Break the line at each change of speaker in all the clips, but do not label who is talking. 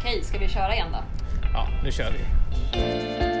Okej, ska vi köra igen då?
Ja, nu kör vi.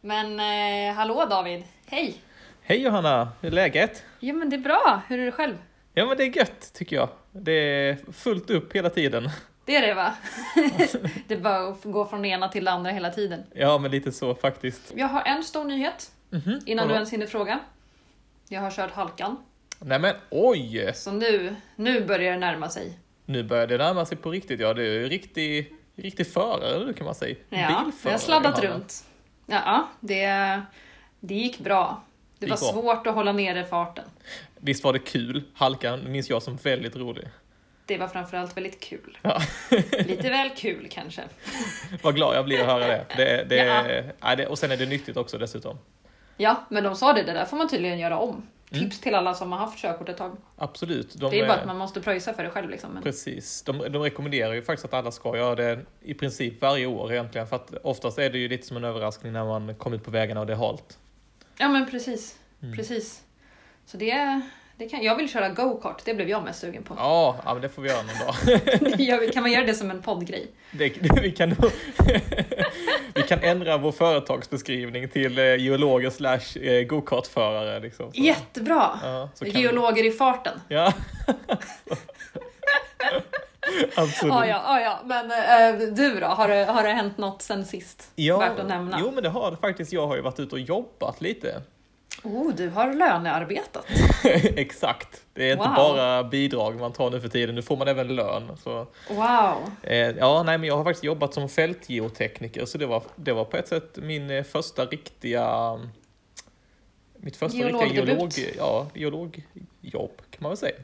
Men eh, hallå David! Hej!
Hej Johanna, hur är läget?
Jo men det är bra, hur är det själv?
Ja men det är gött tycker jag. Det är fullt upp hela tiden.
Det är det va? det är bara att gå från det ena till det andra hela tiden.
Ja men lite så faktiskt.
Jag har en stor nyhet
Mhm,
innan
vadå?
du ens hinner fråga. Jag har kört halkan,
Nej men oj!
så nu, nu börjar det närma sig.
Nu börjar det närma sig på riktigt. Ja, du är ju riktig, riktig förare nu kan man säga.
Ja, jag har sladdat
Johanna.
runt. Ja, ja, det, det gick bra. Det
Det
var
gick bra.
svårt att hålla nere farten.
Visst var det kul? Halkan minns jag som väldigt rolig.
Det var framförallt väldigt kul.
Ja.
Lite väl kul kanske.
Vad glad jag blir att höra det. det, det,
Ja.
nej, det och sen är det nyttigt också dessutom.
Ja, men de sa det, det där får man tydligen göra om.
Mm.
Tips till alla som har haft körkort ett tag.
Absolut. De,
det är bara
eh,
att man måste pröjsa för det själv. Liksom. Men,
Precis. De, de rekommenderar ju faktiskt att alla ska göra det i princip varje år egentligen. För att oftast är det ju lite som en överraskning när man kommer ut på vägarna och det är halt.
ja, men precis.
Mm.
precis. Så det, det kan, jag vill köra go-kart, det blev jag mest sugen på.
Ja, ja men det får vi göra någon dag.
Det gör vi- kan man göra det som en poddgrej?
Det, det, vi, kan, nog- vi kan ändra vår företagsbeskrivning till eh, geologer slash eh, gokartförare. Liksom. Så-
Jättebra!
Ja, så kan vi-
Geologer i farten.
Ja. Absolut.
Ja, ja, ja, ja. Men eh, du då, har det, har det hänt något sen sist?
Ja,
Värt att nämna.
Jo men det har det faktiskt. Jag har ju varit ute och jobbat lite.
Oh, du har lönearbetat.
Exakt. Det är
Wow.
inte bara bidrag man tar nu för tiden, nu får man även lön. Så,
Wow!
eh, ja, nej, men jag har faktiskt jobbat som fältgeotekniker, så det var, det var på ett sätt min eh, första riktiga... Mitt första riktiga geolog,
Geologdebut.
ja, geologjobb, kan man väl säga.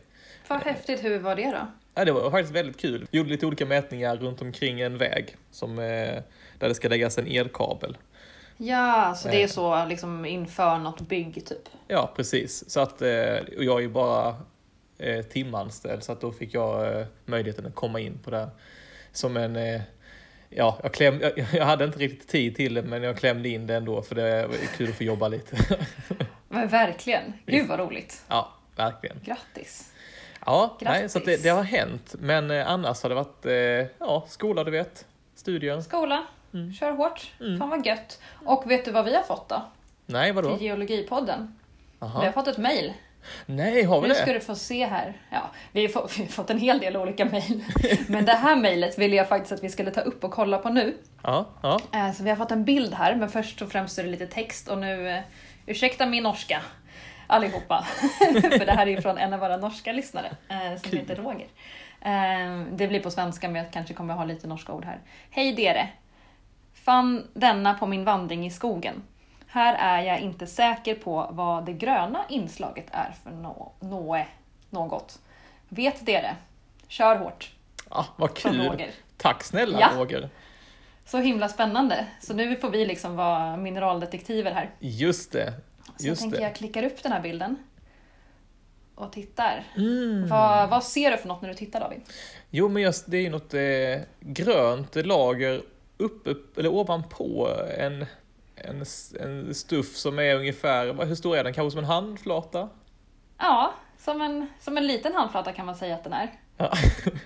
Vad häftigt, hur var det då?
Ja, det var faktiskt väldigt kul. Vi gjorde lite olika mätningar runt omkring en väg som, eh, där det ska läggas en elkabel.
Ja, så det är
Eh.
så liksom inför något bygg typ?
Ja, precis. Så att, eh, och jag är ju bara eh, timanställd, så att då fick jag eh, möjligheten att komma in på det. här. Som en... Eh, ja, jag, kläm, jag, jag hade inte riktigt tid till det, men jag klämde in det ändå, för det är kul att få jobba lite.
Men verkligen. Gud vad roligt.
ja, verkligen.
Grattis.
Ja, nej, så att det,
Grattis.
det har hänt. Men eh, annars har det varit eh, ja, skola, du vet. Studier.
Skola,
Mm.
kör hårt. Fan vad gött. Och vet du vad vi har fått då?
Nej, vadå?
Till Geologipodden. Vi har
Aha.
fått ett mejl.
Nej, har vi
Nu ska
det?
du få se här. Ja, vi, har fått, vi har fått en hel del olika mejl. Men det här mejlet ville jag faktiskt att vi skulle ta upp och kolla på nu.
Ja, ja.
Eh, Så vi har fått en bild här, men först och främst är det lite text och nu, eh, ursäkta min norska allihopa, för det här är ju från en av våra norska lyssnare eh, som
Kul.
heter Roger. Eh, Det blir på svenska men jag kanske kommer ha lite norska ord här. Hej dere! Fann denna på min vandring i skogen. Här är jag inte säker på vad det gröna inslaget är för nå- nåe, något. Vet dere? Kör hårt!
Ah, vad
Från
kul.
Roger.
Tack snälla
Ja.
Roger.
Så himla spännande. Så nu får vi liksom vara mineraldetektiver här.
Just det.
Så jag
Just
tänker
det.
jag klickar upp den här bilden och tittar.
Mm.
Vad, vad ser du för något när du tittar David?
Jo, men just, det är ju något eh, grönt lager uppe, eller ovanpå en, en, s- en stuff som är ungefär, vad- hur stor är den? Kanske som en handflata?
Ja, som en, som en liten handflata kan man säga att den är.
Ja.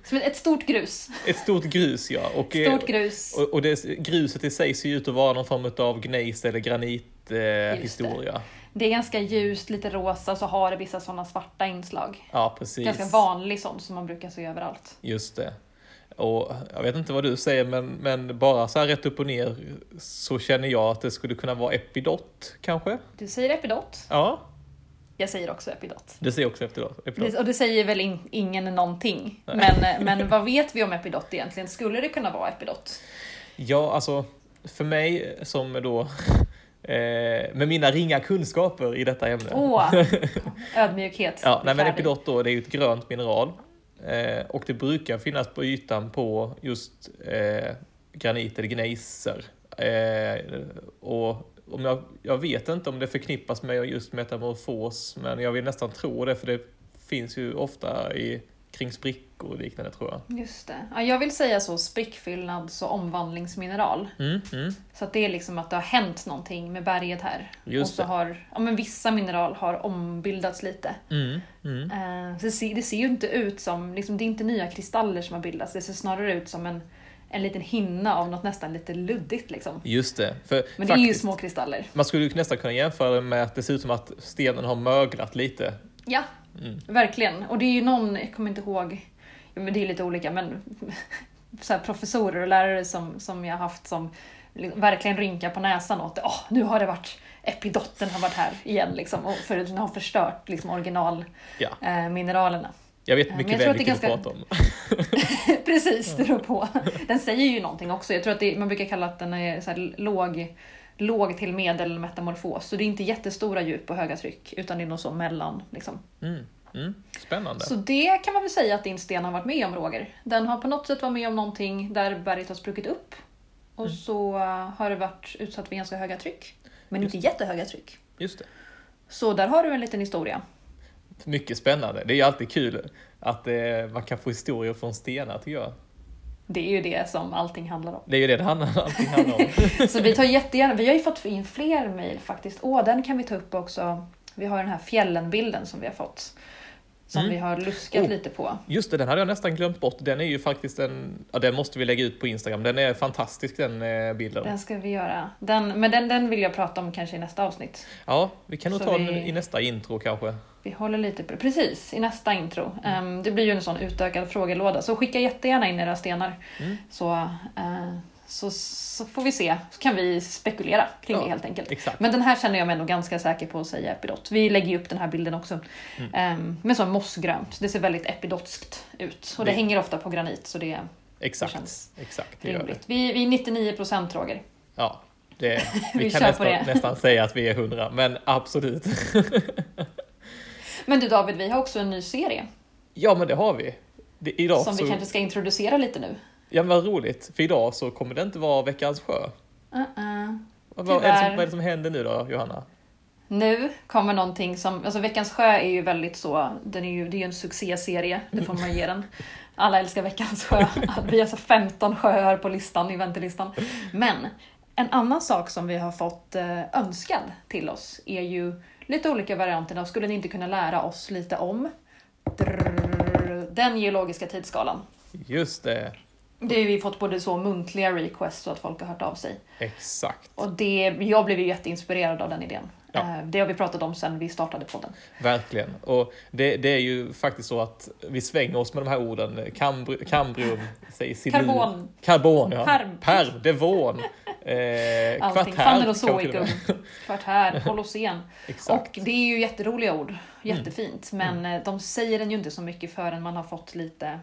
Som ett, ett stort grus.
Ett stort grus, ja. Och, eh,
Stort grus.
och, och det, gruset i sig ser ju ut att vara någon form av gneis eller granithistoria. Eh,
det.
historia.
Det är ganska ljust, lite rosa och så har det vissa sådana svarta inslag.
ja, precis.
Ganska vanlig sån som man brukar se överallt.
Just det. Och jag vet inte vad du säger, men, men bara så här rätt upp och ner så känner jag att det skulle kunna vara epidot, kanske?
Du säger epidot.
Ja,
Jag säger också epidot.
det ser jag också epidot. epidot.
Det, och det säger väl in, ingen någonting.
Nej.
Men, men vad vet vi om epidot egentligen? Skulle det kunna vara epidot?
Ja, alltså för mig som då eh, med mina ringa kunskaper i detta ämne.
Åh! Ödmjukhet.
ja, nej, men
Färdig.
epidot då, det är ju ett grönt mineral eh, och det brukar finnas på ytan på just eh, granit eller gneiser. Eh, och om jag, jag vet inte om det förknippas med just metamorfos, men jag vill nästan tro det, för det finns ju ofta i, kring sprickor och liknande tror jag.
Just det. Ja, jag vill säga så sprickfyllnads och omvandlingsmineral.
Mm, mm.
Så att det är liksom att det har hänt någonting med berget här.
Just
och så
det.
har, ja men vissa mineral har ombildats lite.
Mm, mm.
Eh, så det, ser, det ser ju inte ut som, liksom, det är inte nya kristaller som har bildats, det ser snarare ut som en, en liten hinna av något nästan lite luddigt liksom.
Just det. För
Men det är ju
faktiskt,
små kristaller.
Man skulle ju nästan kunna jämföra det med att det ser ut som att stenen har möglat lite.
Ja,
Mm.
verkligen. Och det är ju någon, jag kommer inte ihåg, ja, men det är lite olika, men så här professorer och lärare som, som jag haft som liksom, verkligen rynkar på näsan åt det. Åh, nu har det varit epidotten har varit här igen liksom, och för, den har förstört liksom, originalmineralerna.
Ja,
Eh, mineralerna.
jag vet
Ja, men
mycket
jag
väl
tror att det
vilket du
ganska-
pratar om.
Precis, det beror på. Den säger ju någonting också. Jag tror att det, man brukar kalla att den är så här låg, låg till medelmetamorfos. Så det är inte jättestora djup och höga tryck, utan det är nog så mellan. Liksom.
Mm, mm. Spännande.
Så det kan man väl säga att din sten har varit med om, Roger. Den har på något sätt varit med om någonting där berget har spruckit upp. Och
Mm.
så eh, har det varit utsatt för ganska höga tryck. Men inte jättehöga tryck.
Just det.
Så där har du en liten historia.
Mycket spännande. Det är ju alltid kul att eh, man kan få historier från stenar tycker jag.
Det är ju det som allting handlar om.
Det är ju det det handlar, allting handlar om.
Så vi tar jättegärna, vi har ju fått in fler mejl faktiskt. Åh, den kan vi ta upp också. Vi har den här fjällenbilden som vi har fått. Som
Mm.
vi har luskat
Oh.
lite på.
Just det, den hade jag nästan glömt bort. Den är ju faktiskt en... Ja, den måste vi lägga ut på Instagram. Den är fantastisk den eh, bilden.
Den ska vi göra. Den, men den, den vill jag prata om kanske i nästa avsnitt.
Ja, vi kan nog
Så
ta den
vi-
i nästa intro kanske.
Vi håller lite på Precis, i nästa intro.
Mm.
Ehm, det blir ju en sån utökad frågelåda. Så skicka jättegärna in era stenar.
Mm.
Så, eh, så, så får vi se. Så kan vi spekulera kring
Ja.
det helt enkelt.
Exakt.
Men den här känner jag mig nog ganska säker på att säga epidot. Vi lägger ju upp den här bilden också.
Mm.
Mm. Men så mossgrönt. Det ser väldigt epidotskt ut. Och det,
Det-
hänger ofta på granit så det, det
Exakt.
känns
Exakt, det gör det.
rimligt. Vi, vi är 99% Roger.
Ja, det, vi,
Vi
kan
kör på
nästan,
det.
nästan säga att vi är hundra, men absolut.
Men du David, vi har också en ny serie.
Ja, men det har vi. Det, idag
som
så,
vi kanske ska introducera lite nu.
Ja, men vad roligt, för idag så kommer det inte vara Veckans sjö.
Uh-uh.
Vad, vad, är det som,
Tyvärr.
vad är det som händer nu då, Johanna?
Nu kommer någonting som, alltså Veckans Sjö är ju väldigt så, den är ju, det är ju en succéserie, det får man ge den. Alla älskar Veckans Sjö, vi har så 15 sjöar på listan, i väntelistan. Men en annan sak som vi har fått eh, önskad till oss är ju lite olika varianter av, skulle ni inte kunna lära oss lite om? Drrrr, Den geologiska tidsskalan.
Just det,
Det har vi fått både så muntliga requests så att folk har hört av sig.
exakt.
Och det, jag blev ju jätteinspirerad av den idén.
Ja.
Eh, Det har vi pratat om sedan vi startade podden.
Verkligen. Och det, det är ju faktiskt så att vi svänger oss med de här orden. Kambr, kambrium, säg silur.
Karbon.
Karbon, ja.
Perm.
Perm, devon. Eh,
Allting.
kvartär. kanske det
Fanerozoikum,
var.
kvartär, holocen.
Exakt. Mm.
Och det är ju jätteroliga ord, jättefint. Men eh, de säger den ju inte så mycket förrän man har fått lite,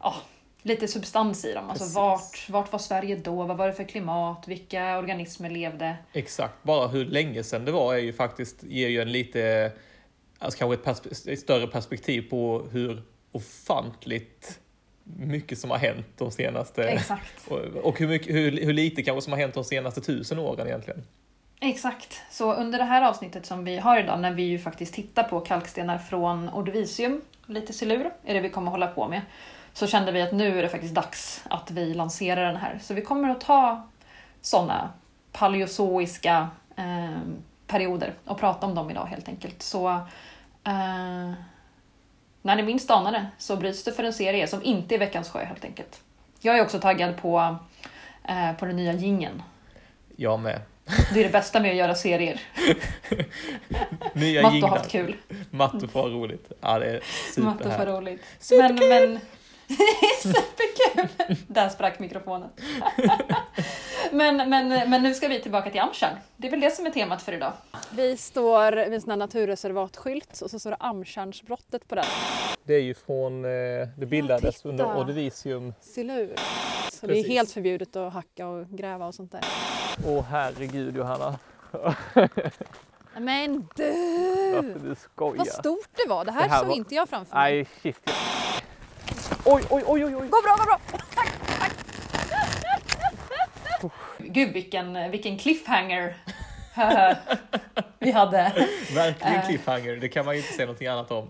ja, lite substans i dem. Alltså
Precis.
vart, vart var Sverige då? Vad var det för klimat? Vilka organismer levde?
Exakt, bara hur länge sedan det var är ju faktiskt, ger ju en lite, alltså kanske ett, perspe- ett större perspektiv på hur ofantligt mycket som har hänt de senaste,
Exakt.
och, och hur, mycket, hur, hur lite kanske som har hänt de senaste tusen åren egentligen.
Exakt. Så under det här avsnittet som vi har idag, när vi ju faktiskt tittar på kalkstenar från Ordovisium, lite silur, är det vi kommer hålla på med, så kände vi att nu är det faktiskt dags att vi lanserar den här. Så vi kommer att ta sådana paleozoiska eh, perioder och prata om dem idag helt enkelt. Så eh, när ni minst anar det så bryts det för en serie som inte är Veckans Sjö helt enkelt. Jag är också taggad på, eh, på den nya gingen.
Jag med.
Det är det bästa med att göra serier.
Nya
Matte har
jinglar.
haft kul.
Matte får ha roligt. Ja, typ det är
Matte får
superhärligt.
roligt. Men, men... Superkul! Där sprack mikrofonen. men, men, men nu ska vi tillbaka till Amsterdam. Det är väl det som är temat för idag. Vi står vid en sån här naturreservatskylt och så står det Amsterdamsbrottet på den.
Det är ju från, eh, det bildades
titta.
under Ordovisium.
Silur. Så det
Precis.
är helt förbjudet att hacka och gräva och sånt där.
Åh herregud Johanna,
Men du!
du
Vad
skojar.
stort det var! Det här,
Det här
såg
var-
inte jag framför mig.
Nej, shit. Oj, oj, oj, oj, oj.
Gå bra, gå bra! Tack, tack! Gud vilken, vilken cliffhanger Haha. Vi hade
Verkligen
Eh.
cliffhanger, det kan man ju inte säga någonting annat om.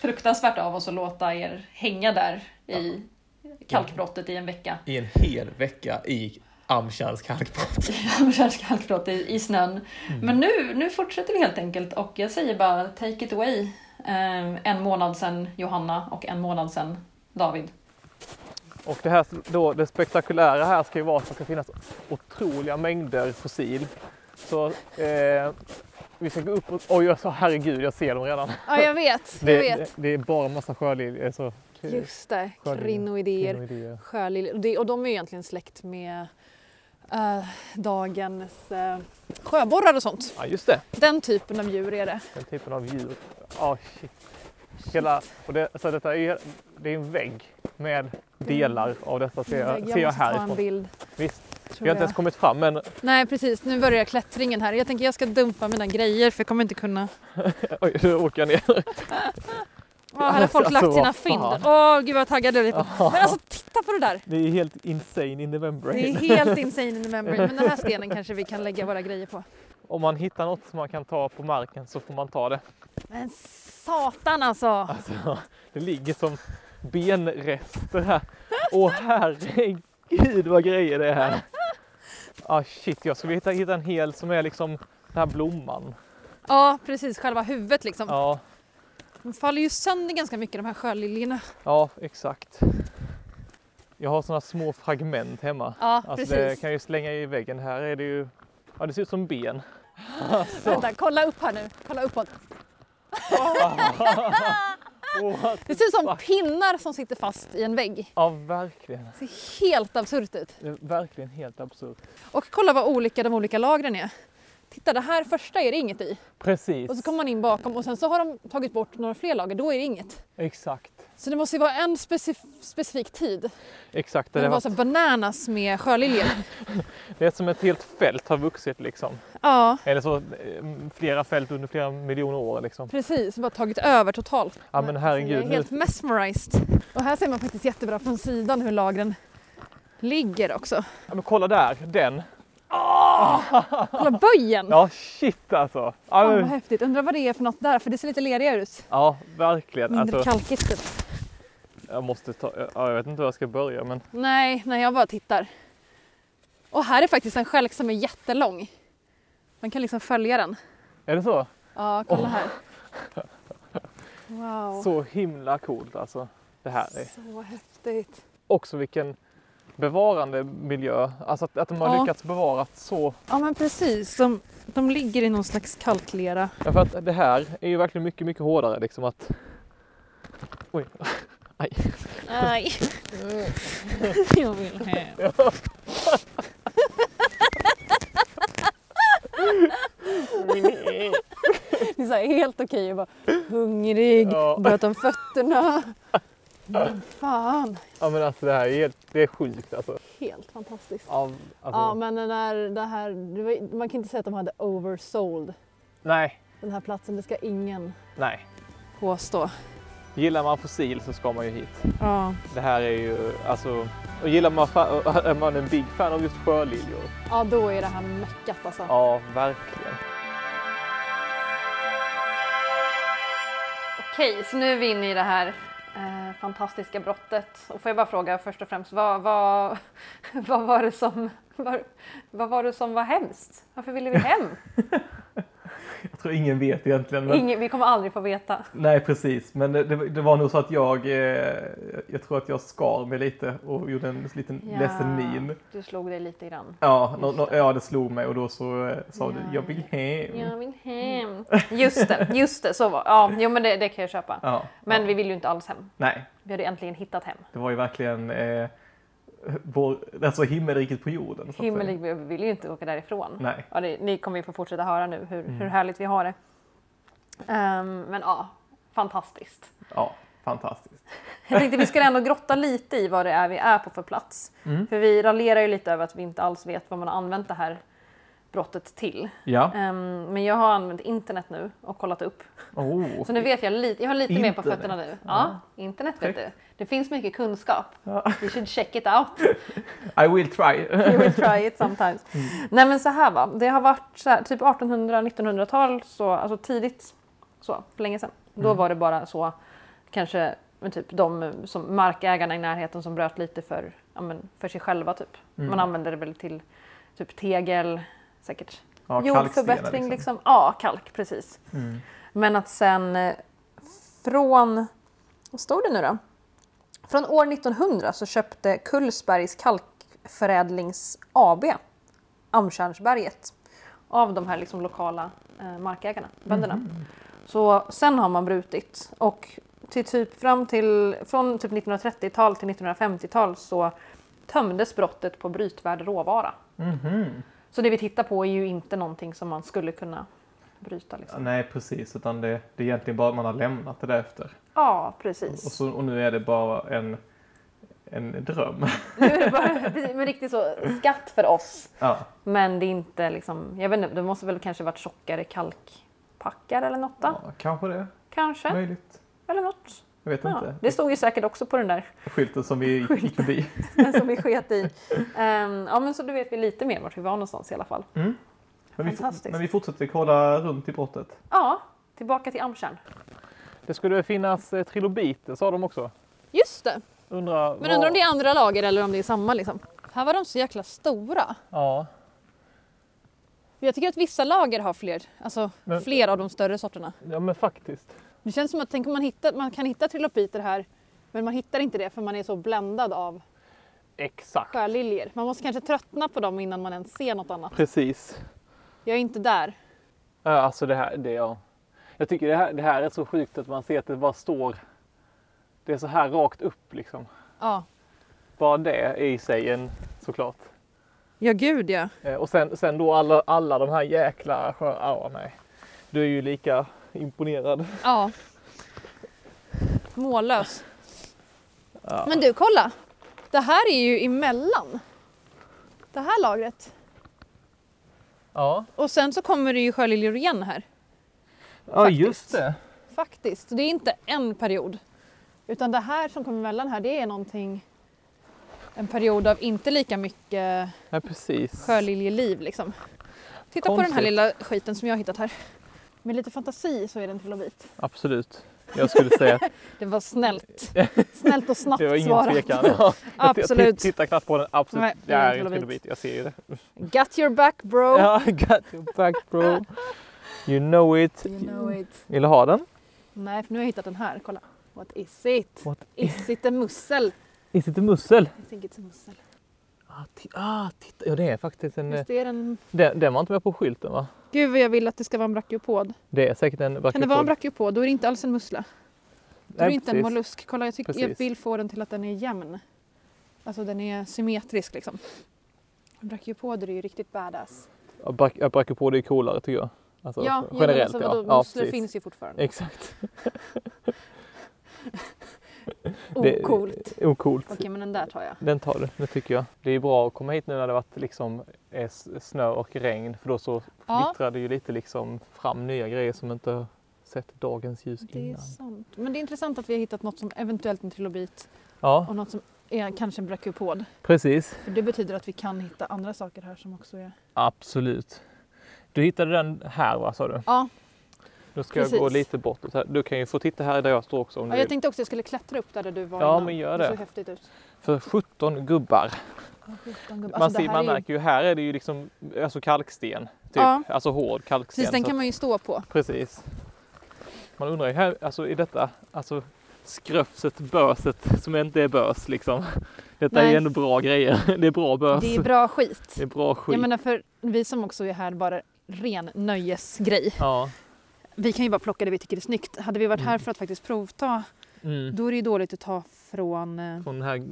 fruktansvärt av oss att låta er hänga där i kalkbrottet i en vecka.
I en hel vecka i Amshans kalkbrott.
Amsterdams kalkbrott i, i snön. Men nu, nu fortsätter vi helt enkelt och jag säger bara take it away. Eh, en månad sedan Johanna och en månad sedan David.
Och det, här, då, det spektakulära här ska ju vara att det ska finnas otroliga mängder fossil. Så eh, vi ska gå upp och... Oj, jag sa herregud, jag ser dem redan.
Ja, jag vet. Jag
Det,
vet.
det, det är bara massa sjöliljor. Så,
Just det,
Sjöliljor.
krinnoidéer.
kvinnoidéer.
Sjöliljor. Och det- Och de är ju egentligen släkt med eh, dagens eh, sjöborrar och sånt.
Ja, just det.
Den typen av djur är det.
Den typen av djur. Ja, shit. Hela, och det, så detta är, ju- det är en vägg med delar av detta ser jag, ser jag
Mm. måste ta en
härifrån.
bild.
Visst,
Tror
vi har inte
jag.
ens kommit fram men
Nej precis, nu börjar klättringen här. Jag tänker jag ska dumpa mina grejer för jag kommer inte kunna.
oj, nu åker jag ner.
Åh, här har folk
Alltså,
lagt sina
vad fan.
fynd. Åh gud vad taggad jag är lite. Men alltså titta på det där!
Det är helt insane in the membrane.
Det är helt insane in the memory. Men den här stenen kanske vi kan lägga våra grejer på.
Om man hittar något som man kan ta på marken så får man ta det.
Men satan alltså!
Alltså, det ligger som benrester här. Åh herregud vad grejer det är här. Ah shit, jag skulle hitta, hitta en hel som är liksom den här blomman.
Ja precis, själva huvudet liksom.
Ja,
De faller ju sönder ganska mycket de här sjöliljorna.
ja exakt. Jag har sådana små fragment hemma.
Ja
Alltså det
precis.
kan jag ju slänga i väggen. Här är det ju, ja det ser ut som ben.
Vänta, kolla upp här nu. Kolla uppåt.
Åh,
Det ser ut som pinnar som sitter fast i en vägg.
ja verkligen.
Det ser helt absurt ut.
Det är verkligen helt absurt.
Och kolla vad olika de olika lagren är. Titta, det här första är det inget i.
Precis,
Och så kommer man in bakom och sen så har de tagit bort några fler lager, då är det inget.
exakt.
Så det måste ju vara en specif- specifik tid. när
Exakt,
Det,
det,
var
var,
så här bananas med sjöliljor.
det är som ett helt fält har vuxit liksom.
ja,
Eller så eh, flera fält under flera miljoner år liksom.
precis. Bara tagit över totalt.
Ja men
Jag
herregud,
alltså, är
nu,
helt mesmerized. Och här ser man faktiskt jättebra från sidan hur lagren ligger också.
ja, men kolla där, den.
Kolla böjen! Ja,
Ja shit alltså. Ja,
vad
men,
häftigt. Undrar vad det är för något där, för det ser lite lerigare ut.
ja verkligen.
Mindre
Alltså,
kalkigt typ.
jag måste ta, ja, jag vet inte hur jag ska börja men
Nej, nej jag bara tittar. Och här är faktiskt en stjälk som är jättelång. Man kan liksom följa den.
är det så?
Ja, kolla här. Wow, så,
Så himla coolt alltså. Det här är
häftigt.
också vilken bevarande miljö. Alltså att, att de har
Ja.
lyckats bevara så.
Ja men precis, de, de ligger i någon slags kalklera.
Ja, för att det här är ju verkligen mycket, mycket hårdare liksom att. Oj. Aj.
Nej. jag vill hem. Det är så här helt okej att vara hungrig,
Ja.
blöt om fötterna. Men fan,
Ja men alltså det här är helt, det är sjukt alltså.
helt fantastiskt.
Ja, alltså
Ja men den här, det här, det var- man kan inte säga att de hade oversold
Nej,
den här platsen, det ska ingen
nej.
påstå.
Gillar man fossil så ska man ju hit.
Ja,
Det här är ju alltså. Och gillar man, fa- är man en big fan av just sjöliljor?
ja då är det här meckat alltså.
Ja, verkligen.
Okej, så nu är vi inne i det här eh, fantastiska brottet. Och får jag bara fråga först och främst, vad, vad, vad, var, det som, vad, vad var det som var hemskt? Varför ville vi hem?
Jag tror ingen vet egentligen. Men...
Ingen, vi kommer aldrig få veta.
Nej precis, men det, det, det var nog så att jag, eh, jag tror att jag skar mig lite och gjorde en liten ledsen min.
Du slog dig lite grann.
Ja, nå- nå- ja, det slog mig och då så eh, sa
Ja,
du jag vill hem.
Jag vill hem. Just det, just det, så var Ja, jo men det, det kan jag köpa.
Ja,
Men
ja.
vi vill ju inte alls hem.
Nej,
Vi hade äntligen hittat hem.
det var ju verkligen eh, vår, alltså himmelriket på jorden. så att säga.
Himmel, vi vill ju inte åka därifrån.
Nej. Mm.
Ja, det, ni kommer ju få fortsätta höra nu hur, hur härligt vi har det. Ehm, men ja, fantastiskt.
Ja, fantastiskt.
Jag tänkte vi skulle ändå grotta lite i vad det
Mm.
är vi är på för plats. För vi raljerar ju lite över att vi inte alls vet vad man har använt det här brottet till.
Ja.
Ehm, men jag har använt internet nu och kollat upp.
Oh.
Så nu vet jag lite, jag har lite mer på
Internet.
fötterna nu. Ja, internet vet du.
Perfekt.
Det finns mycket kunskap.
Ja.
You should check it out.
I will try.
You will try it sometimes.
Mm.
Nej men så här va, det har varit så här, typ 1800-1900-tal, så, alltså tidigt, så, för länge sedan. Då
Mm.
var det bara så, kanske men typ de som, markägarna i närheten som bröt lite för, ja, men, för sig själva typ.
Mm.
Man använde det väl till typ tegel, säkert
Ja, kalkstenar,
jordförbättring. Liksom. Ja, kalk precis.
Mm.
Men att sen eh, från, vad stod det nu då? Från år 1900 så köpte Kullsbergs kalkförädlings AB Amtjärnsberget av de här liksom lokala eh, markägarna, bönderna.
Mhm.
Så sen har man brutit och till typ fram till, från typ 1930-tal till 1950-tal så tömdes brottet på brytvärd råvara.
Mhm.
Så det vi tittar på är ju inte någonting som man skulle kunna bryta.
Ja,
Liksom.
Nej, precis. Utan det, det är egentligen bara att man har lämnat det där efter.
Ja,
Och,
precis.
så, och nu är det bara en, en dröm.
Nu är det bara, precis, men riktigt så, skatt för oss.
ja.
Men det är inte liksom, jag vet inte, det måste väl kanske varit tjockare kalkpackar eller något då?
ja, kanske det.
Kanske,
Möjligt.
eller något.
Jag vet
Ja,
inte.
det stod ju säkert också på den där
Skylten som vi gick- gick förbi.
den som vi sket i. Ehm, ja, men så då vet vi lite mer vart vi var någonstans i alla fall.
Mm. Men, vi,
Fantastiskt.
men vi fortsätter kolla runt i brottet.
Ja, tillbaka till Amtjärn.
Det skulle finnas trilobiter sa de också.
Just det.
Undrar
Men undrar om det är andra lager eller om det är samma liksom. Här var de så jäkla stora.
Ja.
Men Jag tycker att vissa lager har fler, alltså
Men-
fler av de större sorterna.
ja, men faktiskt.
Det känns som att tänk om man, hittar, man kan hitta trilopiter här men man hittar inte det för man är så bländad av
Exakt.
sjöliljor. Man måste kanske tröttna på dem innan man ens ser något annat.
Precis.
Jag är inte där.
Ja, Alltså det här, det ja. Jag tycker det här, det här är så sjukt att man ser att det bara står. Det är så här rakt upp liksom.
Ja.
Bara det är i sig en såklart.
Ja gud ja.
Eh, Och sen, sen då alla, alla de här jäkla sjö... Ja, nej. Du är ju lika imponerad.
Ja. Mållös.
Ja.
Men du kolla! Det här är ju emellan. Det här lagret.
Ja,
Och sen så kommer det ju sjöliljor igen här.
ja just det.
Faktiskt. Det är inte en period. Utan det här som kommer emellan här det är någonting en period av inte lika mycket
Ja, precis.
sjöliljeliv liksom. Titta på den här
Konstigt.
lilla skiten som jag har hittat här. Med lite fantasi så är den till och bit.
Absolut. Jag skulle säga att
Det var snällt. Snällt och snabbt
det var ingen
svarat.
tvekan. Ja. Jag t- Jag
Absolut.
t- tittar knappt på den. Absolut.
Nej,
det är
ingen
en
kilobit.
kilobit. Jag ser ju det.
Got your back bro!
Ja, got your back bro. You know it.
You know it.
Vill du ha den?
Nej, för nu har jag hittat den här. Kolla. What is it?
What
Is it a mussel?
Is it a mussel?
I think it's a mussel.
Ah, ti- ah, titta. Ja, det är faktiskt en... eh,
Just det, är den...
Den, den var inte med på skylten va?
Gud vad jag vill att det ska vara en brachiopod.
Det är säkert en
Kan det vara en brachiopod, då är det inte alls en mussla. Då är det inte en mollusk. Kolla, jag, tycker, jag
Precis.
vill få den till att den är jämn. Alltså den är symmetrisk liksom. Brachiopoder är ju riktigt badass.
Ja, brack- ja, Brachiopoder är coolare tycker jag. Alltså,
ja, jo, men
generellt
alltså, vadå,
ja. ja.
musslor
precis.
finns ju fortfarande.
Exakt. Det-
Ocoolt.
Ocoolt.
Okej, men den där tar jag.
Den tar du, det tycker jag. Det är bra att komma hit nu när det varit liksom eh, s- snö och regn för då så
Ja.
flittrar det ju lite liksom fram nya grejer som inte har sett dagens ljus
Det är
innan.
sant. Men det är intressant att vi har hittat något som eventuellt en trilobit
Ja,
och något som är kanske en brachiopod.
precis.
För det betyder att vi kan hitta andra saker här som också är...
Absolut. Du hittade den här va, sa du?
Ja,
Nu ska jag gå
Precis.
lite bortåt här. Du kan ju få titta här där jag står också om
ja
du
jag
vill.
tänkte också att jag skulle klättra upp där, där du var
Ja,
innan.
men gör
Det
det.
såg häftigt ut.
För 17 gubbar.
Ja, sjutton gubbar.
man,
Alltså, det
ser, man
här är ju-
märker ju här är det ju liksom alltså kalksten. Typ.
Ja.
Alltså hård kalksten.
Precis, den
så
kan man ju stå på.
Precis. Man undrar ju här, alltså i detta, alltså skröfset, böset som inte är bös liksom. Detta är
Nej.
ju ändå bra grejer. Det är bra bös.
Det är bra skit.
Det är bra skit.
Jag menar för vi som också är här bara ren nöjesgrej.
Ja.
Vi kan ju bara plocka det vi tycker är snyggt. Hade vi varit här för att faktiskt provta,
Mm.
då är det ju dåligt att ta från... eh,
Från den här, ja,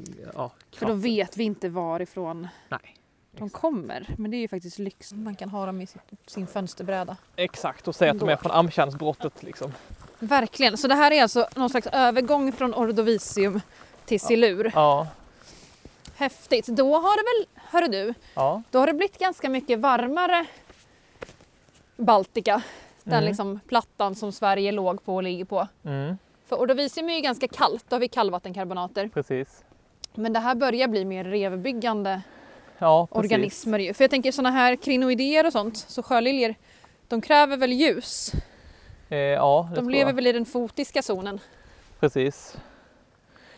För då
kraften.
vet vi inte varifrån
Nej.
de kommer. Men det är ju faktiskt lyx. Man kan ha dem i sin- sin fönsterbräda.
Exakt, och säga att de är från Amtjärnsbrottet liksom.
Verkligen. Så det här är alltså någon slags övergång från ordovisium till silur.
Ja.
Häftigt. Då har det väl, hörru du,
Ja.
då har det blivit ganska mycket varmare Baltika. Den
Mm.
liksom plattan som Sverige låg på och ligger på.
Mm,
För Ordovisium är ju ganska kallt, då har vi kallvattenkarbonater.
precis.
Men det här börjar bli mer revbyggande
Ja, precis.
organismer ju. För jag tänker sådana här krinoidéer och sånt, så sjöliljor, de kräver väl ljus?
Eh, ja, det
De
tror
lever
jag.
väl i den fotiska zonen?
Precis.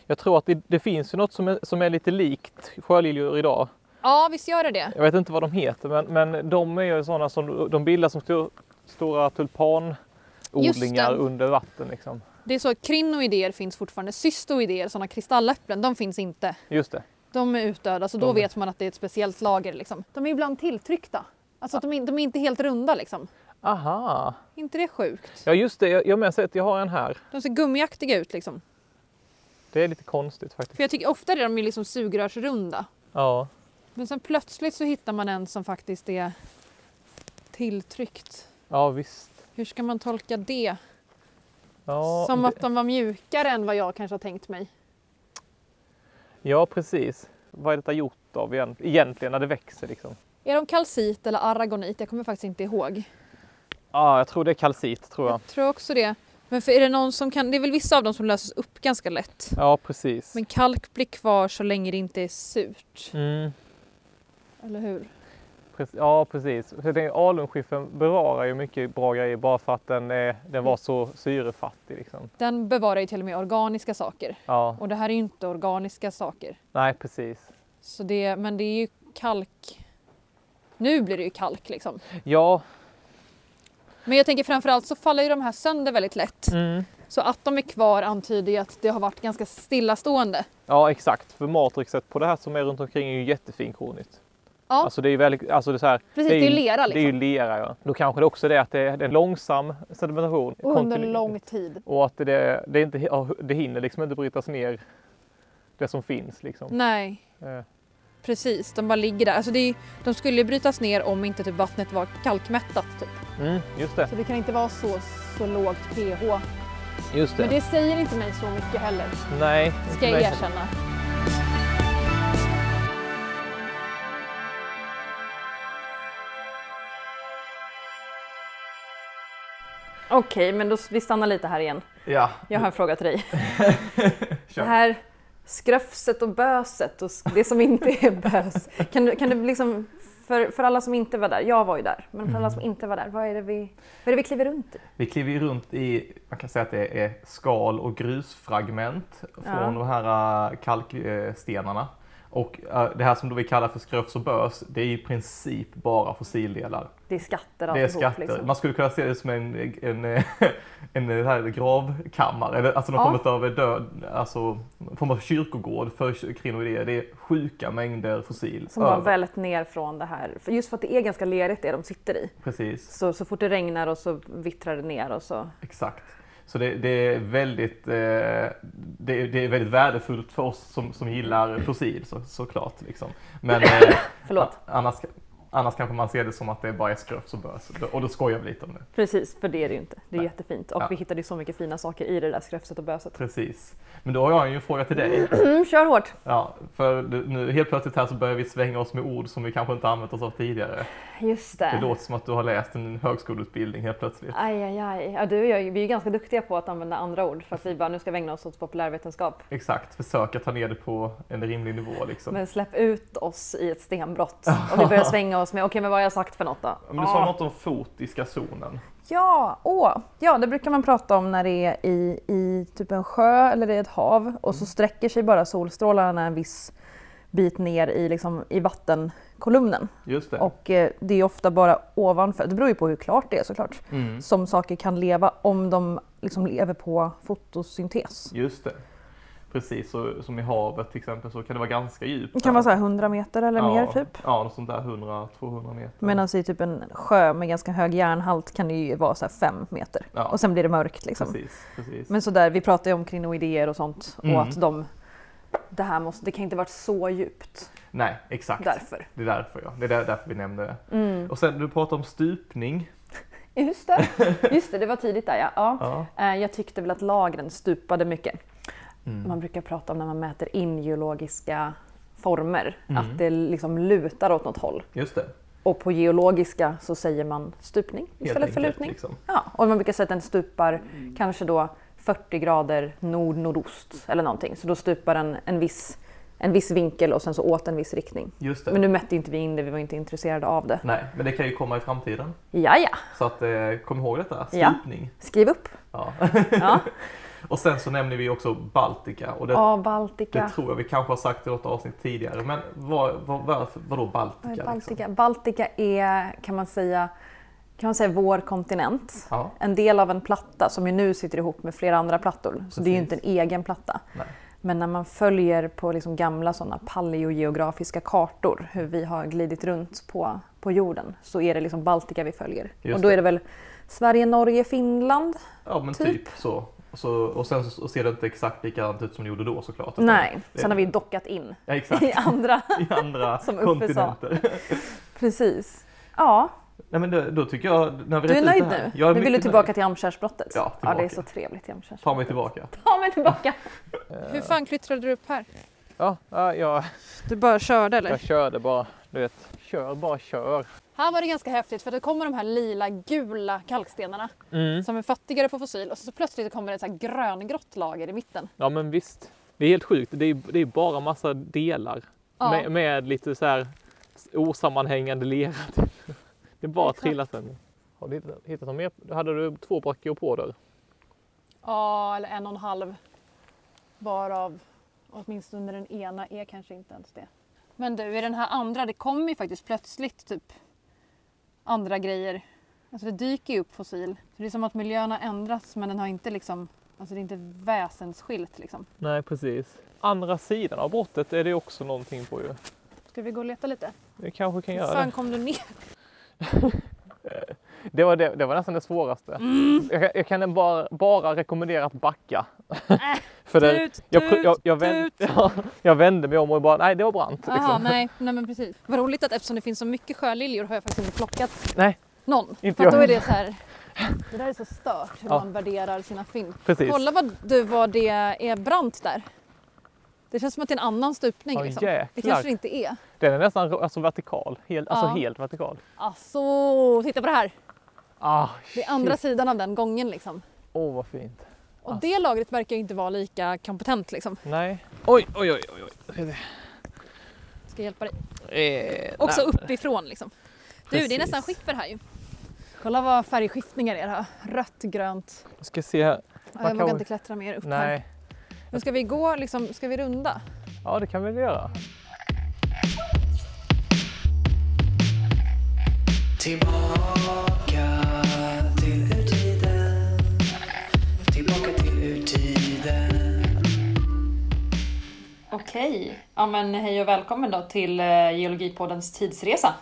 Jag tror att det, det finns ju något som är, som är lite likt sjöliljor idag.
Ja, visst gör det det?
Jag vet inte vad de heter, men, men de är ju sådana som de bildas som stor, stora tulpanodlingar
det.
under vatten. Liksom.
Det är så att krinoidéer finns fortfarande. Cystoidéer, sådana kristalläpplen, de finns inte.
Just det.
De är utdöda, så då
De-
vet man att det är ett speciellt lager. Liksom. De är ibland tilltryckta. Alltså att de, in, de är inte helt runda liksom.
Aha!
inte det sjukt?
Ja, just det. Jag, jag har med sig att jag har en här.
De ser gummiaktiga ut liksom.
Det är lite konstigt faktiskt.
För jag tycker ofta är de ju liksom sugrörsrunda.
Ja,
Men sen plötsligt så hittar man en som faktiskt är tilltryckt.
ja visst.
Hur ska man tolka det?
Ja,
Som
det-
att de var mjukare än vad jag kanske har tänkt mig.
ja, precis. Vad är detta gjort av egent- egentligen när det växer? Liksom?
Är de kalcit eller aragonit? Jag kommer faktiskt inte ihåg.
Ja, jag tror det är kalcit, tror jag.
Jag tror också det. Men för är det någon som kan, det är väl vissa av dem som löses upp ganska lätt.
Ja, precis.
Men kalk blir kvar så länge det inte är surt.
Mm,
Eller hur?
precis. Ja, precis. Så jag tänker, alunskiffern bevarar ju mycket bra grejer bara för att den, är, den var så syrefattig. Liksom.
Den bevarar ju till och med organiska saker.
Ja,
Och det här är ju inte organiska saker.
nej, precis.
Så det, men det är ju kalk. Nu blir det ju kalk liksom.
Ja,
Men jag tänker framförallt så faller ju de här sönder väldigt lätt.
mm.
Så att de är kvar antyder ju att det har varit ganska stillastående.
ja exakt. För matrixet på det här som är runt omkring är ju jättefinkornigt.
Ja,
Alltså det är ju väldigt, alltså det är så här,
precis. Det är ju lera
Det är
liksom.
ju lera ja. Då kanske det också är det att det är det är en långsam sedimentation.
liksom. Under
kontinuerligt.
lång tid.
Och att det, det, är inte, ja, det hinner liksom inte brytas ner det som finns liksom.
Nej,
Eh,
Precis, de bara ligger där. Alltså det är, de skulle ju brytas ner om inte typ vattnet var kalkmättat. Typ.
Mm, just det.
Så det kan inte vara så, så lågt pH.
Just
Men det säger inte mig så mycket heller,
Nej.
ska jag
nej.
erkänna.
Okej, men då, vi stannar lite här igen.
Ja.
Jag har en fråga till dig.
Kör.
Det här skröfset och böset och det som inte är bös. Kan du, kan du liksom, för, för alla som inte var där, jag var ju där, men för alla som inte var där, vad är det vi, vad är det vi kliver runt i?
Vi kliver ju runt i, man kan säga att det är skal och grusfragment från
Ja.
de här äh, kalkstenarna. Och äh, det här som då vi kallar för skrövs och bös, det är i princip bara fossildelar.
Det är skatter
Det är
alltihop, liksom.
skatter. Man skulle kunna se det som en, en, en, en här gravkammare, eller alltså någon
Ja.
form av död, alltså någon form av kyrkogård för krinoidéer. Det är sjuka mängder fossil.
Som bara
över.
vällt ner från det här. För just för att det är ganska lerigt det de sitter i.
Precis,
Så, så fort det regnar och så vittrar det ner och så.
exakt. Så det, det, är väldigt, eh, det, är- det är väldigt värdefullt för oss som, som gillar fossil så, såklart. Liksom. Men eh,
Förlåt.
annars, annars kanske man ser det som att det bara är skröps och bös. Och då skojar vi lite om det.
Precis, för det är det ju inte. Det är
Nej.
jättefint. Och
Ja.
vi hittade ju så mycket fina saker i det där skröfset och böset.
Precis. Men då har jag ju en fråga till dig.
Mm, kör hårt!
Ja, för nu helt plötsligt här så börjar vi svänga oss med ord som vi kanske inte använt oss av tidigare.
Just
Det låter som att du har läst en högskoleutbildning helt plötsligt.
Aj, aj, aj. Ja, du och jag, vi är ju ganska duktiga på att använda andra ord för att vi bara nu ska vi ägna oss åt populärvetenskap.
Exakt, försök att ta ner det på en rimlig nivå liksom. Men,
Men släpp ut oss i ett stenbrott och vi börjar svänga oss med okej, men vad har jag sagt för något då?
du sa något om fotiska zonen.
Ja, åh. ja, det brukar man prata om när det är i, i typ en sjö eller i ett hav och
Mm.
så sträcker sig bara solstrålarna en viss bit ner i, liksom, i vattenkolumnen.
Just det.
Och eh, det är ofta bara ovanför, det beror ju på hur klart det är såklart,
Mm.
som saker kan leva om de liksom lever på fotosyntes.
Just det. Precis, så, som i havet till exempel så kan det vara ganska djupt.
Det kan vara så här 100 meter eller
ja,
mer typ.
Ja, något sånt där 100-200 meter.
Medan i typ en sjö med ganska hög järnhalt kan det ju vara så här 5 meter.
Ja.
Och sen blir det mörkt liksom.
Precis, precis.
Men så där, vi pratar ju om krinoidéer och sånt
Mm.
och att de det här måste, det kan inte varit så djupt
Nej, exakt.
därför.
Det är därför ja. Det är där, därför vi nämnde det. Och sen du pratade om stupning.
Mm. Just det, just det, det var tidigt där ja. ja.
Ja.
Eh, Jag tyckte väl att lagren stupade mycket.
Mm.
Man brukar prata om när man mäter in geologiska former, att det liksom lutar åt något håll.
Just det.
Och på geologiska så säger man stupning istället för lutning.
Liksom.
Ja, och man brukar säga att den stupar kanske då 40 grader nord-nordost eller någonting. Så då stupar den en viss, en viss vinkel och sen så åt en viss riktning.
Just det.
Men nu mätte inte vi in det, vi var inte intresserade av det.
Nej, men det kan ju komma i framtiden.
Ja, ja,
Så att, eh, kom ihåg detta,
Ja.
stupning.
skriv upp.
Ja.
Ja,
Och sen så nämner vi också Baltika. Och det,
ja
det
Baltika.
tror jag vi kanske har sagt i något avsnitt tidigare. Men vad, vad, varför, vadå Baltika?
Vad
liksom?
är Baltika? Baltika är, kan man säga, kan man säga vår kontinent.
Ja,
en del av en platta som ju nu sitter ihop med flera andra plattor. Så det är ju inte en egen platta.
Nej.
Men när man följer på liksom gamla sådana paleogeografiska kartor hur vi har glidit runt på, på jorden så är det liksom Baltika vi följer.
Just
och då
det.
är det väl Sverige, Norge, Finland?
ja men typ,
Typ.
så. Och, så. och sen så ser det inte exakt likadant ut som det gjorde då såklart. Utan-
Nej,
det-
sen har vi dockat in
Ja, exakt.
i andra.
I andra
Som Uffe sa.
kontinenter.
Precis. Ja,
Nej, men då, då tycker jag... När vi
du
rett
är
ut
nöjd
det här-
nu?
Jag är
nu vill du
mycket
tillbaka
nöjd.
till Jamkärsbrottet?
Ja,
ja, det är
tillbaka.
så trevligt Jamkärsbrottet.
Ta mig tillbaka.
Ta mig tillbaka!
Hur fan klättrade du upp här?
Ja, ja jag,
Du bara körde
jag
eller?
körde bara. Du vet, kör bara kör.
Här var det ganska häftigt för det kommer de här lila gula kalkstenarna
Mm.
som är fattigare på fossil och så plötsligt kommer det ett så här gröngrått lager i mitten.
Ja men visst. Det är helt sjukt. Det är, det är bara massa delar.
Ja.
Med, med lite så här osammanhängande lera. typ. Det är bara
Exakt.
trillat sen. Har du hittat, hittat något mer? Hade du två brachiopoder?
Ja, eller en och en halv. Varav åtminstone den ena är kanske inte ens det. Men du, i den här andra, det kommer ju faktiskt plötsligt typ andra grejer. Alltså det dyker ju upp fossil. Så det är som att miljön har ändrats men den har inte liksom, alltså det är inte väsensskilt liksom.
Nej precis. Andra sidan av brottet är det också någonting på ju.
Ska vi gå och leta lite?
Vi kanske kan
Hur
göra
fan
det.
kom du ner?
Det var, det, det var nästan det svåraste.
Mm.
Jag, kan- jag kan bara, bara rekommendera att backa. För det,
Äh, Tut,
jag, pr- jag, jag, vänd,
tut, tut.
ja, jag vände mig om och bara, nej det var brant. Liksom.
Jaha, nej, nej men precis. Vad roligt att eftersom det finns så mycket sjöliljor har jag faktiskt inte plockat
Nej.
någon.
Inte
för att då
jag.
är det så här, det där är så stört hur
Ja.
man värderar sina fynd.
Precis.
Kolla vad, du, vad det är brant där. Det känns som att det är en annan stupning.
Ja,
liksom. Det
jäklar.
kanske det inte är.
Den är nästan ro- alltså, vertikal. Helt, alltså
Ja.
helt vertikal.
Alltså, titta på det här.
Ah,
Det är andra
shit. Alltså.
sidan av den gången liksom.
Åh vad fint.
Och det lagret verkar ju inte vara lika kompetent liksom.
Nej. Oj, oj, oj. oj, oj.
Ska hjälpa dig.
Eh,
Också
nej.
uppifrån liksom. Du, det är
Precis.
nästan skiffer här ju. Kolla vad färgskiftningar det är här. Rött, grönt.
Jag ska se här.
Ja,
Man
jag vågar
kan-
inte klättra mer upp här.
Nej.
Men ska vi gå, liksom, ska vi runda?
Ja, det kan vi väl göra.
Tillbaka till urtiden Tillbaka till urtiden
Okej, ja men hej och välkommen då till eh, Geologipoddens tidsresa.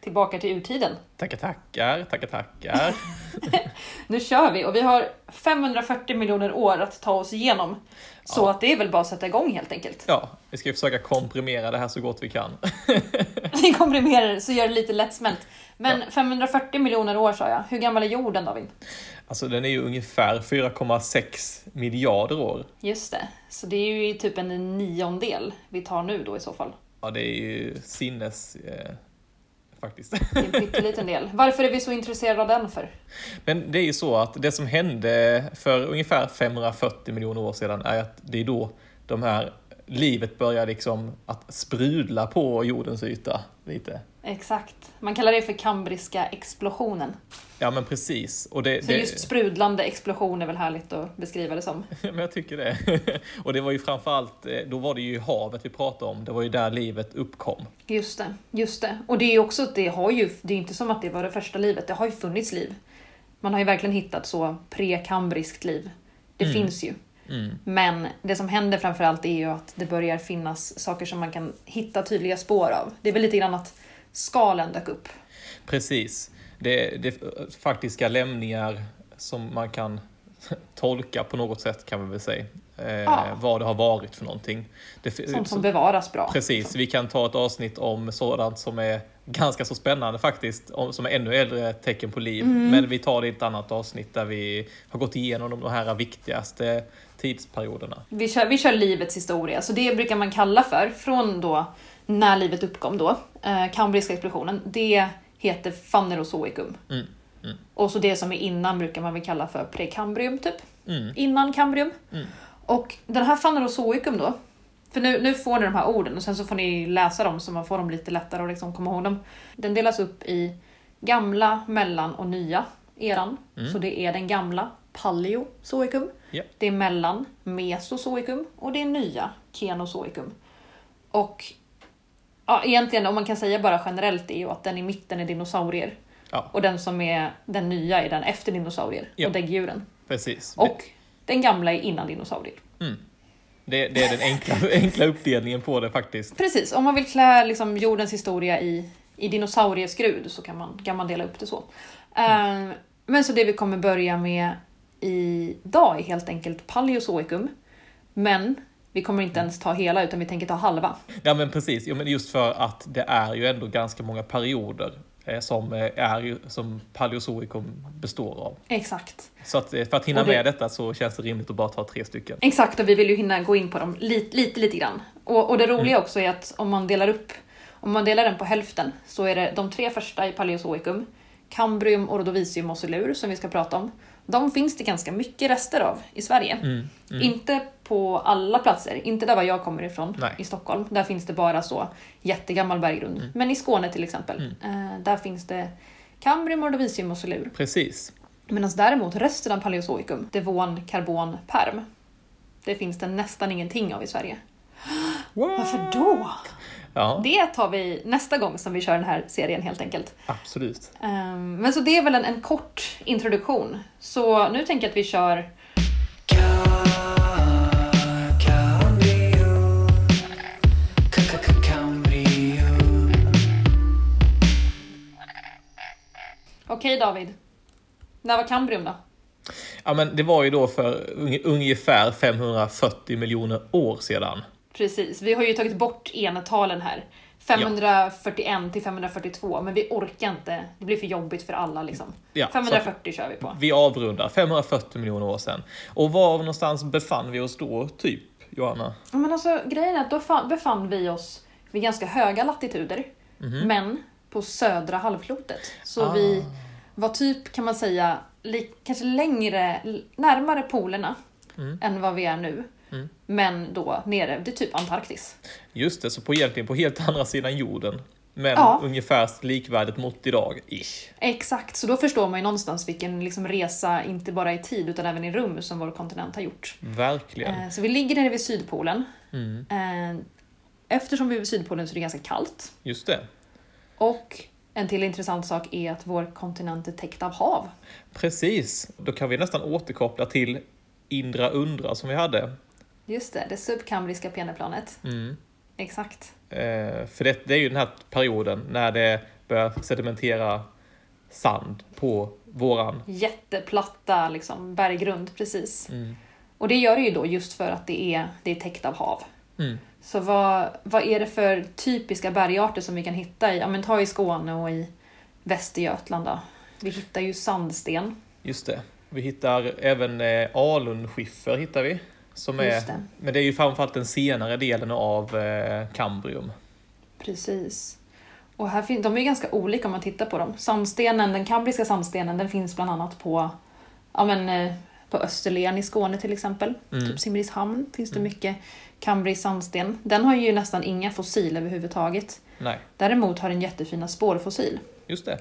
Tillbaka till urtiden.
Tackar, tackar. Tackar, tackar.
Nu kör vi och vi har 540 miljoner år att ta oss igenom. Så att det är väl bara att sätta igång helt enkelt.
ja, vi ska ju försöka komprimera det här så gott vi kan.
Vi komprimerar det så gör det lite lättsmält. Men 540 miljoner år sa jag. Hur gammal är jorden David?
Alltså den är ju ungefär 4,6 miljarder år.
Just det, så det är ju typ en niondel vi tar nu då i så fall.
Ja, det är ju sinnes... Eh, faktiskt.
Det är en pytteliten del. Varför är vi så intresserade av den för?
Men det är ju så att det som hände för ungefär 540 miljoner år sedan är att det är då de här livet börjar liksom att sprudla på jordens yta lite.
Exakt. Man kallar det för kambriska explosionen.
Ja men precis. Och det,
Så
det,
just sprudlande explosion är väl härligt att beskriva det som.
men jag tycker det. Och det var ju framförallt, eh, då var det ju havet vi pratade om, det var ju där livet uppkom.
Just det, just det. Och det är ju också att det har ju, det är ju inte som att det var det första livet, det har ju funnits liv. Man har ju verkligen hittat så prekambriskt liv. Det finns ju. Men det som händer framförallt är ju att det börjar finnas saker som man kan hitta tydliga spår av. Det är väl lite grann att skalen dök upp.
Precis. Det, det eh, faktiska lämningar som man kan tolka på något sätt kan vi väl säga. Eh,
Ja.
Vad det har varit för någonting. Det, fi-
Sånt som bevaras bra.
Precis, vi kan ta ett avsnitt om sådant som är ganska så spännande faktiskt, om- som är ännu äldre tecken på liv.
Mm.
Men vi tar det i ett annat avsnitt där vi har gått igenom de här viktigaste tidsperioderna.
Vi kör, vi kör livets historia, så det brukar man kalla för, från då när livet uppkom då, eh, kambriska explosionen, det heter fanerozoikum.
Mm, mm.
Och så det som är innan brukar man väl kalla för prekambrium typ.
Mm.
Innan kambrium.
Mm.
Och den här fanerozoikum då. För nu, nu får ni de här orden och sen så får ni läsa dem så man får dem lite lättare och liksom komma ihåg dem. Den delas upp i gamla, mellan och nya eran. Så det är den gamla, paleozoikum.
Mm. Ja.
Det är mellan, mesozoikum. Och det är nya, kenozoikum. Och ja, egentligen, om man kan säga bara generellt, är ju att den i mitten är dinosaurier.
Ja.
Och den som är den nya är den efter dinosaurier
Ja.
och däggdjuren.
Precis.
Och den gamla är innan dinosaurier.
Det, det är den enkla, enkla uppdelningen på det faktiskt.
Precis, om man vill klä liksom, jordens historia i, i dinosaurieskrud så kan man, kan man dela upp det så. Eh, men så det vi kommer börja med idag är helt enkelt Paleozoikum. Men vi kommer inte ens ta hela utan vi tänker ta halva.
Ja men precis, jo, men just för att det är ju ändå ganska många perioder eh, som, eh, är, ju- som paleozoikum består av.
Exakt.
Så att, eh, för att hinna
Och det-
med detta så känns det rimligt att bara ta tre stycken.
Exakt, och vi vill ju hinna gå in på dem lite, lite, lite grann. Och, och det roliga också är att om man delar upp, om man delar den på hälften så är det de tre första i Paleozoikum, Cambrium, Ordovisium och Silur som vi ska prata om. De finns det ganska mycket rester av i Sverige.
Mm, mm.
Inte på alla platser, inte där var jag kommer ifrån
Nej. Mm.
i Stockholm. Där finns det bara så jättegammal berggrund. Men i Skåne till exempel, eh, där finns det Cambrium, Ordovisium och Silur.
Precis.
Medan däremot resten av Paleozoikum, devon, karbon, perm, det finns det nästan ingenting av i Sverige. Varför då?
Ja,
Det tar vi nästa gång som vi kör den här serien helt enkelt.
absolut.
Ehm, Men så det är väl en, en kort introduktion. Så nu tänker jag att vi kör
Cambrium, Cambrium.
Okej David. När var Kambrium då?
Ja, men det var ju då för unge- ungefär 540 miljoner år sedan.
Precis, vi har ju tagit bort enetalen här. 541 till 542, men vi orkar inte. Det blir för jobbigt för alla liksom.
Ja, så att-
540 kör vi på.
Vi avrundar, 540 miljoner år sedan. Och var någonstans befann vi oss då, typ, Johanna?
Ja, Men alltså, grejen är att då fa- befann vi oss vid ganska höga latituder, men på södra halvklotet. Så
Ah.
vi var typ, kan man säga, li- kanske längre, l- närmare polerna än vad vi är nu. Men då nere vid typ Antarktis.
Just det, så på egentligen på helt andra sidan jorden. Men
Ja.
ungefär likvärdigt mot idag, ish.
Exakt, så då förstår man ju någonstans vilken liksom resa, inte bara i tid utan även i rum, som vår kontinent har gjort.
Verkligen.
Eh, Så vi ligger nere vid Sydpolen.
Mm,
Eh, Eftersom vi är vid Sydpolen så är det ganska kallt.
just det.
Och en till intressant sak är att vår kontinent är täckt av hav.
Precis. Då kan vi nästan återkoppla till Indra Undra som vi hade.
Just det, det subkambriska peneplanet.
Mm.
Exakt.
Eh, för det, det är ju den här perioden när det börjar sedimentera sand på våran.
Jätteplatta liksom, berggrund, precis.
Mm.
Och det gör det ju då just för att det är, det är täckt av hav.
Mm.
Så vad, vad är det för typiska bergarter som vi kan hitta i, ja men ta i Skåne och i Västergötland då. Vi hittar ju sandsten.
Just det. Vi hittar även eh, alunskiffer hittar vi. Som är,
Just det.
Men det är ju framförallt den senare delen av eh, kambrium.
Precis. Och här fin- de är ju ganska olika om man tittar på dem. Sandstenen, den kambriska sandstenen, den finns bland annat på, ja men, eh, på Österlen i Skåne till exempel.
Mm.
Typ Simrishamn finns det mycket kambrisk sandsten. Den har ju nästan inga fossil överhuvudtaget.
Nej,
Däremot har den jättefina spårfossil.
just det.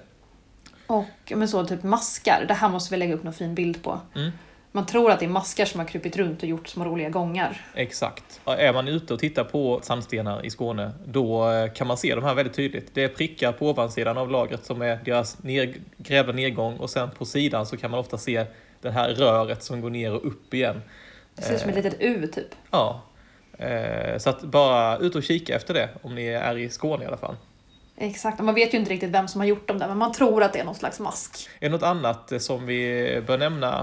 Och men så typ maskar, det här måste vi lägga upp någon fin bild på.
Mm.
Man tror att det är maskar som har krupit runt och gjort små roliga gångar.
Exakt. Är man ute och tittar på sandstenar i Skåne, då eh, kan man se de här väldigt tydligt. Det är prickar på ovansidan av lagret som är deras ner, grävda nedgång och sen på sidan så kan man ofta se det här röret som går ner och upp igen.
Det ser ut
Eh.
som ett litet U typ.
Ja. Eh, Så att bara ut och kika efter det, om ni är i Skåne i alla fall.
Exakt, man vet ju inte riktigt vem som har gjort dem där men man tror att det är någon slags mask.
Är det något annat eh, som vi bör nämna?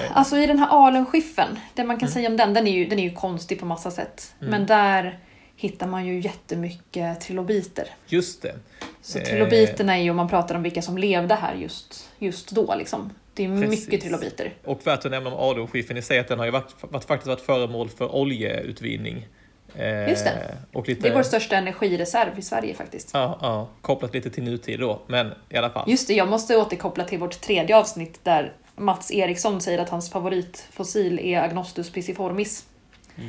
Eh,
Alltså i den här alunskiffern, det man kan säga om den, den är, ju, den är ju konstig på massa sätt. Men där hittar man ju jättemycket trilobiter.
Just det.
Så
Eh.
trilobiterna är ju, om man pratar om vilka som levde här just, just då liksom. Det är
Precis.
mycket trilobiter.
Och värt att nämna om alunskiffern i sig att den har ju varit, varit, faktiskt varit föremål för oljeutvinning Eh,
Just det.
Och lite,
Det är vår största energireserv i Sverige faktiskt.
ja, ja, kopplat lite till nutid då, men i alla fall.
Just det, jag måste återkoppla till vårt tredje avsnitt där Mats Eriksson säger att hans favoritfossil är Agnostus pisciformis.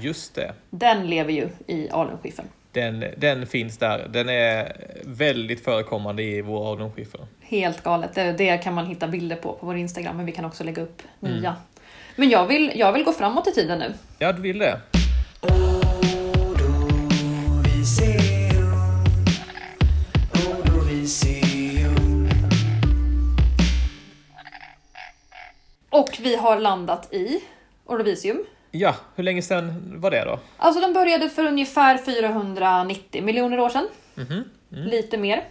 Just det.
Den lever ju i alunskiffern.
Den, den finns där. Den är väldigt förekommande i våra alunskiffer.
Helt galet. Det, det kan man hitta bilder på på vår Instagram, men vi kan också lägga upp nya. Men jag vill, jag vill gå framåt i tiden nu.
Ja, du vill det?
Ord och vision. Ord och vision.
Och vi har landat i Ordovisium.
Ja, hur länge sedan var det då?
Alltså den började för ungefär 490 miljoner år sedan. Lite mer.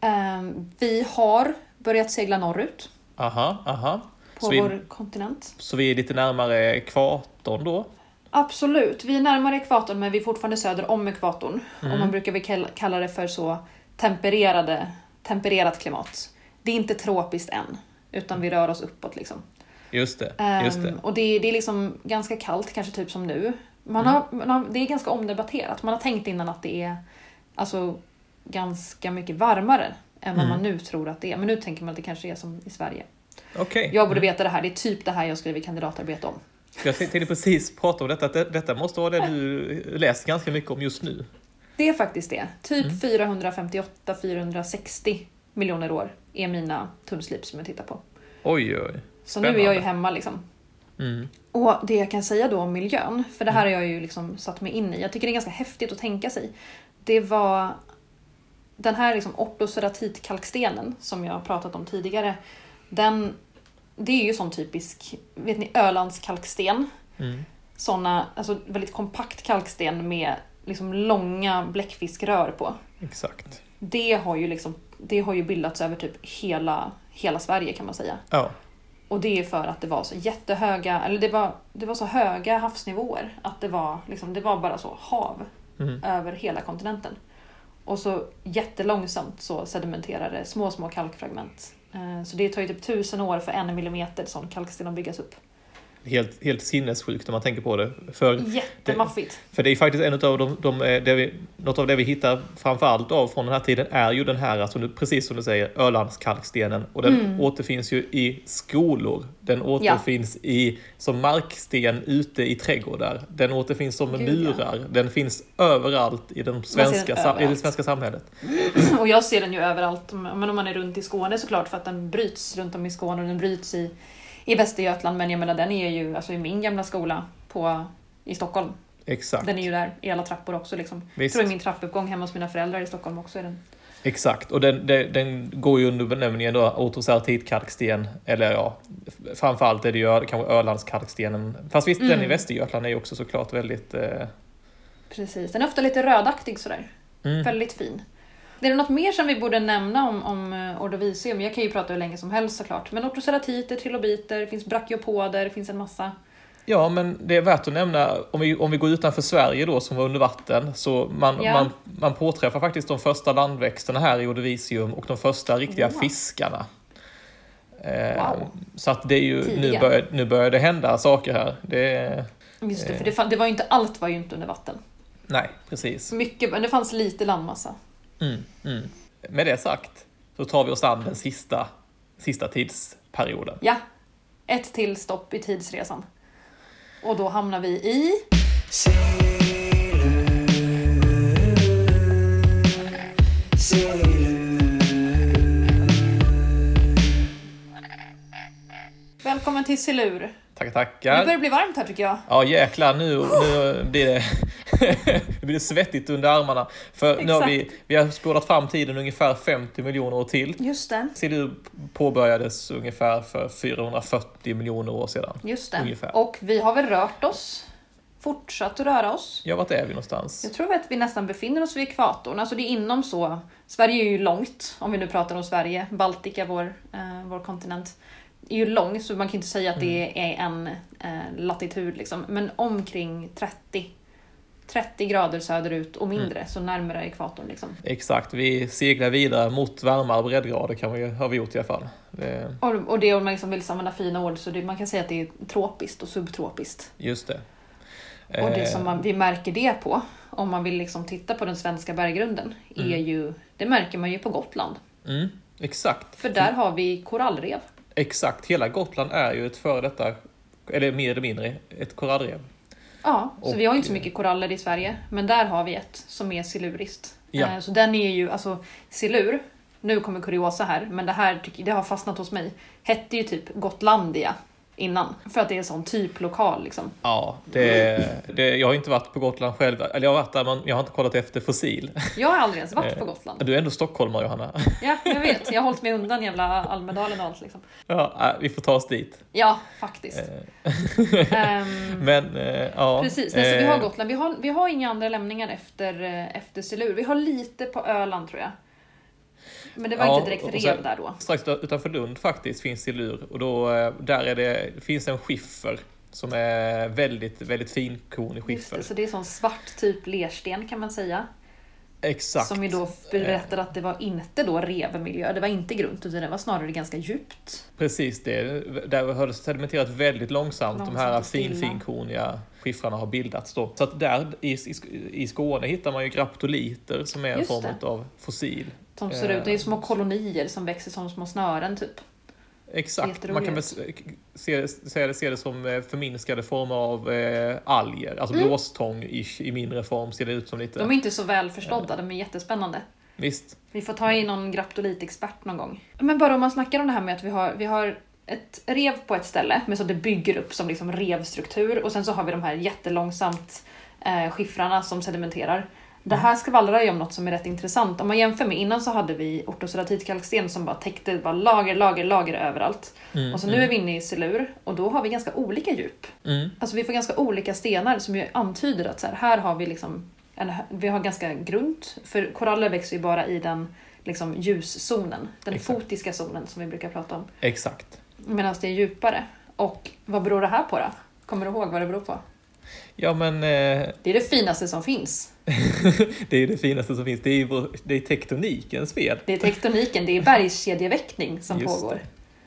Ehm, vi har börjat segla norrut
Aha, aha.
på
Så vi,
vår kontinent.
så vi är lite närmare kvarton då?
Absolut, vi är närmare ekvatorn men vi är fortfarande söder om ekvatorn. Och man brukar väl kall- kalla det för så tempererade, tempererat klimat. Det är inte tropiskt än, utan vi rör oss uppåt. Liksom.
Just det,
Ehm,
just det.
Och det, det är liksom ganska kallt, kanske typ som nu. Man
Mm.
har, man har, det är ganska omdebatterat. Man har tänkt innan att det är alltså, ganska mycket varmare än
Mm.
vad man nu tror att det är. Men nu tänker man att det kanske är som i Sverige.
Okej.
Jag borde veta det här, det är typ det här jag skriver kandidatarbete om.
Jag tänkte precis prata om detta, att det- detta måste vara det du läst ganska mycket om just nu.
Det är faktiskt det. Typ
Mm.
458-460 miljoner år är mina tunnslip som jag tittar på.
Oj, oj.
Så nu är jag ju hemma liksom.
Mm.
Och det jag kan säga då om miljön, för det här har jag ju liksom satt mig in i. Jag tycker det är ganska häftigt att tänka sig. Det var den här liksom ortoceratitkalkstenen som jag har pratat om tidigare. Den, det är ju sån typisk, vet ni Ölandskalksten?
Mm.
Såna, alltså väldigt kompakt kalksten med liksom långa bläckfiskrör på.
Exakt.
det har ju, liksom, det har ju bildats över typ hela, hela Sverige kan man säga.
Ja,
Och det är för att det var så jättehöga, eller det var, det var så höga havsnivåer att det var, liksom, det var bara så hav
Mm.
över hela kontinenten. Och så jättelångsamt så sedimenterade små, små kalkfragment. Eh, Så det tar ju typ tusen år för en millimeter sån kalksten att byggas upp.
helt, helt sinnessjukt om man tänker på det. För
Jättemaffigt.
För det är faktiskt en av de, de eh, det vi, något av det vi hittar framför allt av från den här tiden är ju den här, som du, precis som du säger, Ölandskalkstenen. Och den
Mm.
återfinns ju i skolor. Den återfinns i, som marksten ute i trädgårdar. Den återfinns som
Gud, ja.
murar. Den finns överallt i, de svenska,
den
sam- i det
överallt.
svenska samhället.
Och jag ser den ju överallt, men om man är runt i Skåne såklart för att den bryts runt om i Skåne och den bryts i, i Västergötland. Men jag menar den är ju alltså, i min gamla skola på, i Stockholm.
Exakt.
Den är ju där i alla trappor också. Liksom. Jag
Visst.
tror i min trappuppgång hemma hos mina föräldrar i Stockholm också är den.
Exakt, och den, den, den går ju under benämningen då otroceratitkalksten, eller ja, f- framförallt är det ju ö- kanske Ölandskalkstenen. Fast visst, den i
Mm.
Västergötland är ju också såklart väldigt... Eh,
Precis. Den är ofta lite rödaktig sådär.
mm.
Väldigt fin. Är det något mer som vi borde nämna om, om eh, Ordovisium? Jag kan ju prata hur länge som helst såklart. Men ortoceratiter, trilobiter, det finns brachiopoder, det finns en massa.
Ja, men det är värt att nämna, om vi, om vi går utanför Sverige då, som var under vatten, så man,
Ja.
man, man påträffar faktiskt de första landväxterna här i Ordovisium och de första riktiga
Wow.
fiskarna. Eh,
Wow.
Så att det är ju, nu
Tidiga.
börjar, nu börjar det hända saker här. Det, är-
Just det,
Eh.
för det, fan- det var ju inte, allt var ju inte under vatten.
nej, precis.
Mycket, men det fanns lite landmassa.
Mm, mm. Med det sagt så tar vi oss an den sista, sista tidsperioden.
Ja, ett till stopp i tidsresan. Och då hamnar vi i...
Sail ut, sail ut.
Välkommen till Silur. Nu
Tack,
börjar
tackar.
det bli varmt här tycker jag.
Ja jäklar, nu, nu blir det, det blir svettigt under armarna. För nu har vi, vi har spolat fram tiden ungefär 50 miljoner år till.
Just det.
CDU påbörjades ungefär för 440 miljoner år sedan.
Just det.
Ungefär.
Och vi har väl rört oss. Fortsatt att röra oss.
Ja, vart är vi någonstans?
Jag tror att vi nästan befinner oss vid ekvatorn. Alltså det är inom så. Sverige är ju långt, om vi nu pratar om Sverige. Baltika, vår, eh, vår kontinent, är ju lång så man kan inte säga att det är en eh, latitud. Liksom. Men omkring 30. 30 grader söderut och mindre, så närmare ekvatorn. Liksom.
Exakt, vi seglar vidare mot varmare breddgrader kan vi, har vi gjort i alla fall. Eh, Det,
Och, och det om man liksom vill använda fina ord så det, man kan säga att det är tropiskt och subtropiskt.
just det.
Och det
Eh,
som man, vi märker det på, om man vill liksom titta på den svenska berggrunden, är ju, det märker man ju på Gotland.
mm, exakt.
För där har vi korallrev.
Exakt, hela Gotland är ju ett före detta, eller mer eller mindre, ett korallrev.
Ja, så
Och-
vi har ju inte så mycket koraller i Sverige, men där har vi ett som är siluriskt.
Ja.
Eh, Så den är ju, alltså silur, nu kommer kuriosa här, men det här tycker- det har fastnat hos mig, hette ju typ Gotlandia innan. För att det är en sån typ lokal liksom.
Ja, det, det, jag har inte varit på Gotland själv, eller jag har varit där men jag har inte kollat efter fossil.
Jag har aldrig ens varit på Gotland.
Du är ändå stockholmare Johanna.
Ja, jag vet. Jag har hållit mig undan jävla Almedalen och allt liksom.
Ja, äh, vi får ta oss dit.
Ja, faktiskt. Ehm,
Men eh, ja.
Precis, nej, så vi
eh,
har Gotland. Vi har, vi har inga andra lämningar efter, eh, efter Silur. Vi har lite på Öland tror jag. Men det var
Ja,
inte direkt
och sen-
rev där då.
Strax utanför Lund faktiskt finns silur och då, eh, där är det, finns en skiffer som är väldigt, väldigt finkornig
Just
skiffer.
det, så det är sån svart typ lersten kan man säga.
Exakt.
Som ju då berättar
Eh.
att det var inte då revmiljö, det var inte grunt utan det var snarare ganska djupt.
Precis det. Där har det sedimenterat väldigt långsamt.
Långsamt
De här
och stilla.
fin, finkorniga skiffrarna har bildats då. Så att där i, i, i Skåne hittar man ju graptoliter som är en
Just
form
det.
av fossil.
Som ser
Eh.
ut, det är små kolonier som växer som små snören typ.
Exakt. Man kan väl se, se, se, det- se det som eh, förminskade former av eh, alger. Alltså blåstång i, i mindre form ser det ut som lite.
Mm. De är inte så väl
Eh.
förstådda, de är jättespännande.
Visst.
Vi får ta in någon graptolitexpert någon gång. Men bara om man snackar om det här med att vi har, vi har ett rev på ett ställe, men så att det bygger upp som liksom revstruktur och sen så har vi de här jättelångsamt eh, skiffrarna som sedimenterar. Det här skvallrar ju om något som är rätt intressant. Om man jämför med innan så hade vi ortoceratitkalksten som bara täckte bara lager, lager, lager överallt. och så nu är vi inne i silur och då har vi ganska olika djup.
Mm.
Alltså vi får ganska olika stenar som ju antyder att så här, här har vi liksom en, vi har ganska grunt, för koraller växer ju bara i den liksom ljuszonen, den
Exakt.
fotiska zonen som vi brukar prata om,
Exakt.
medan det är djupare. Och vad beror det här på då? Kommer du ihåg vad det beror på?
Ja men eh,
Det är det finaste som finns.
det är ju det finaste som finns. Det är, ju vår- det är tektonikens fel.
Det är tektoniken, det är bergskedjeväckning som
Just
pågår.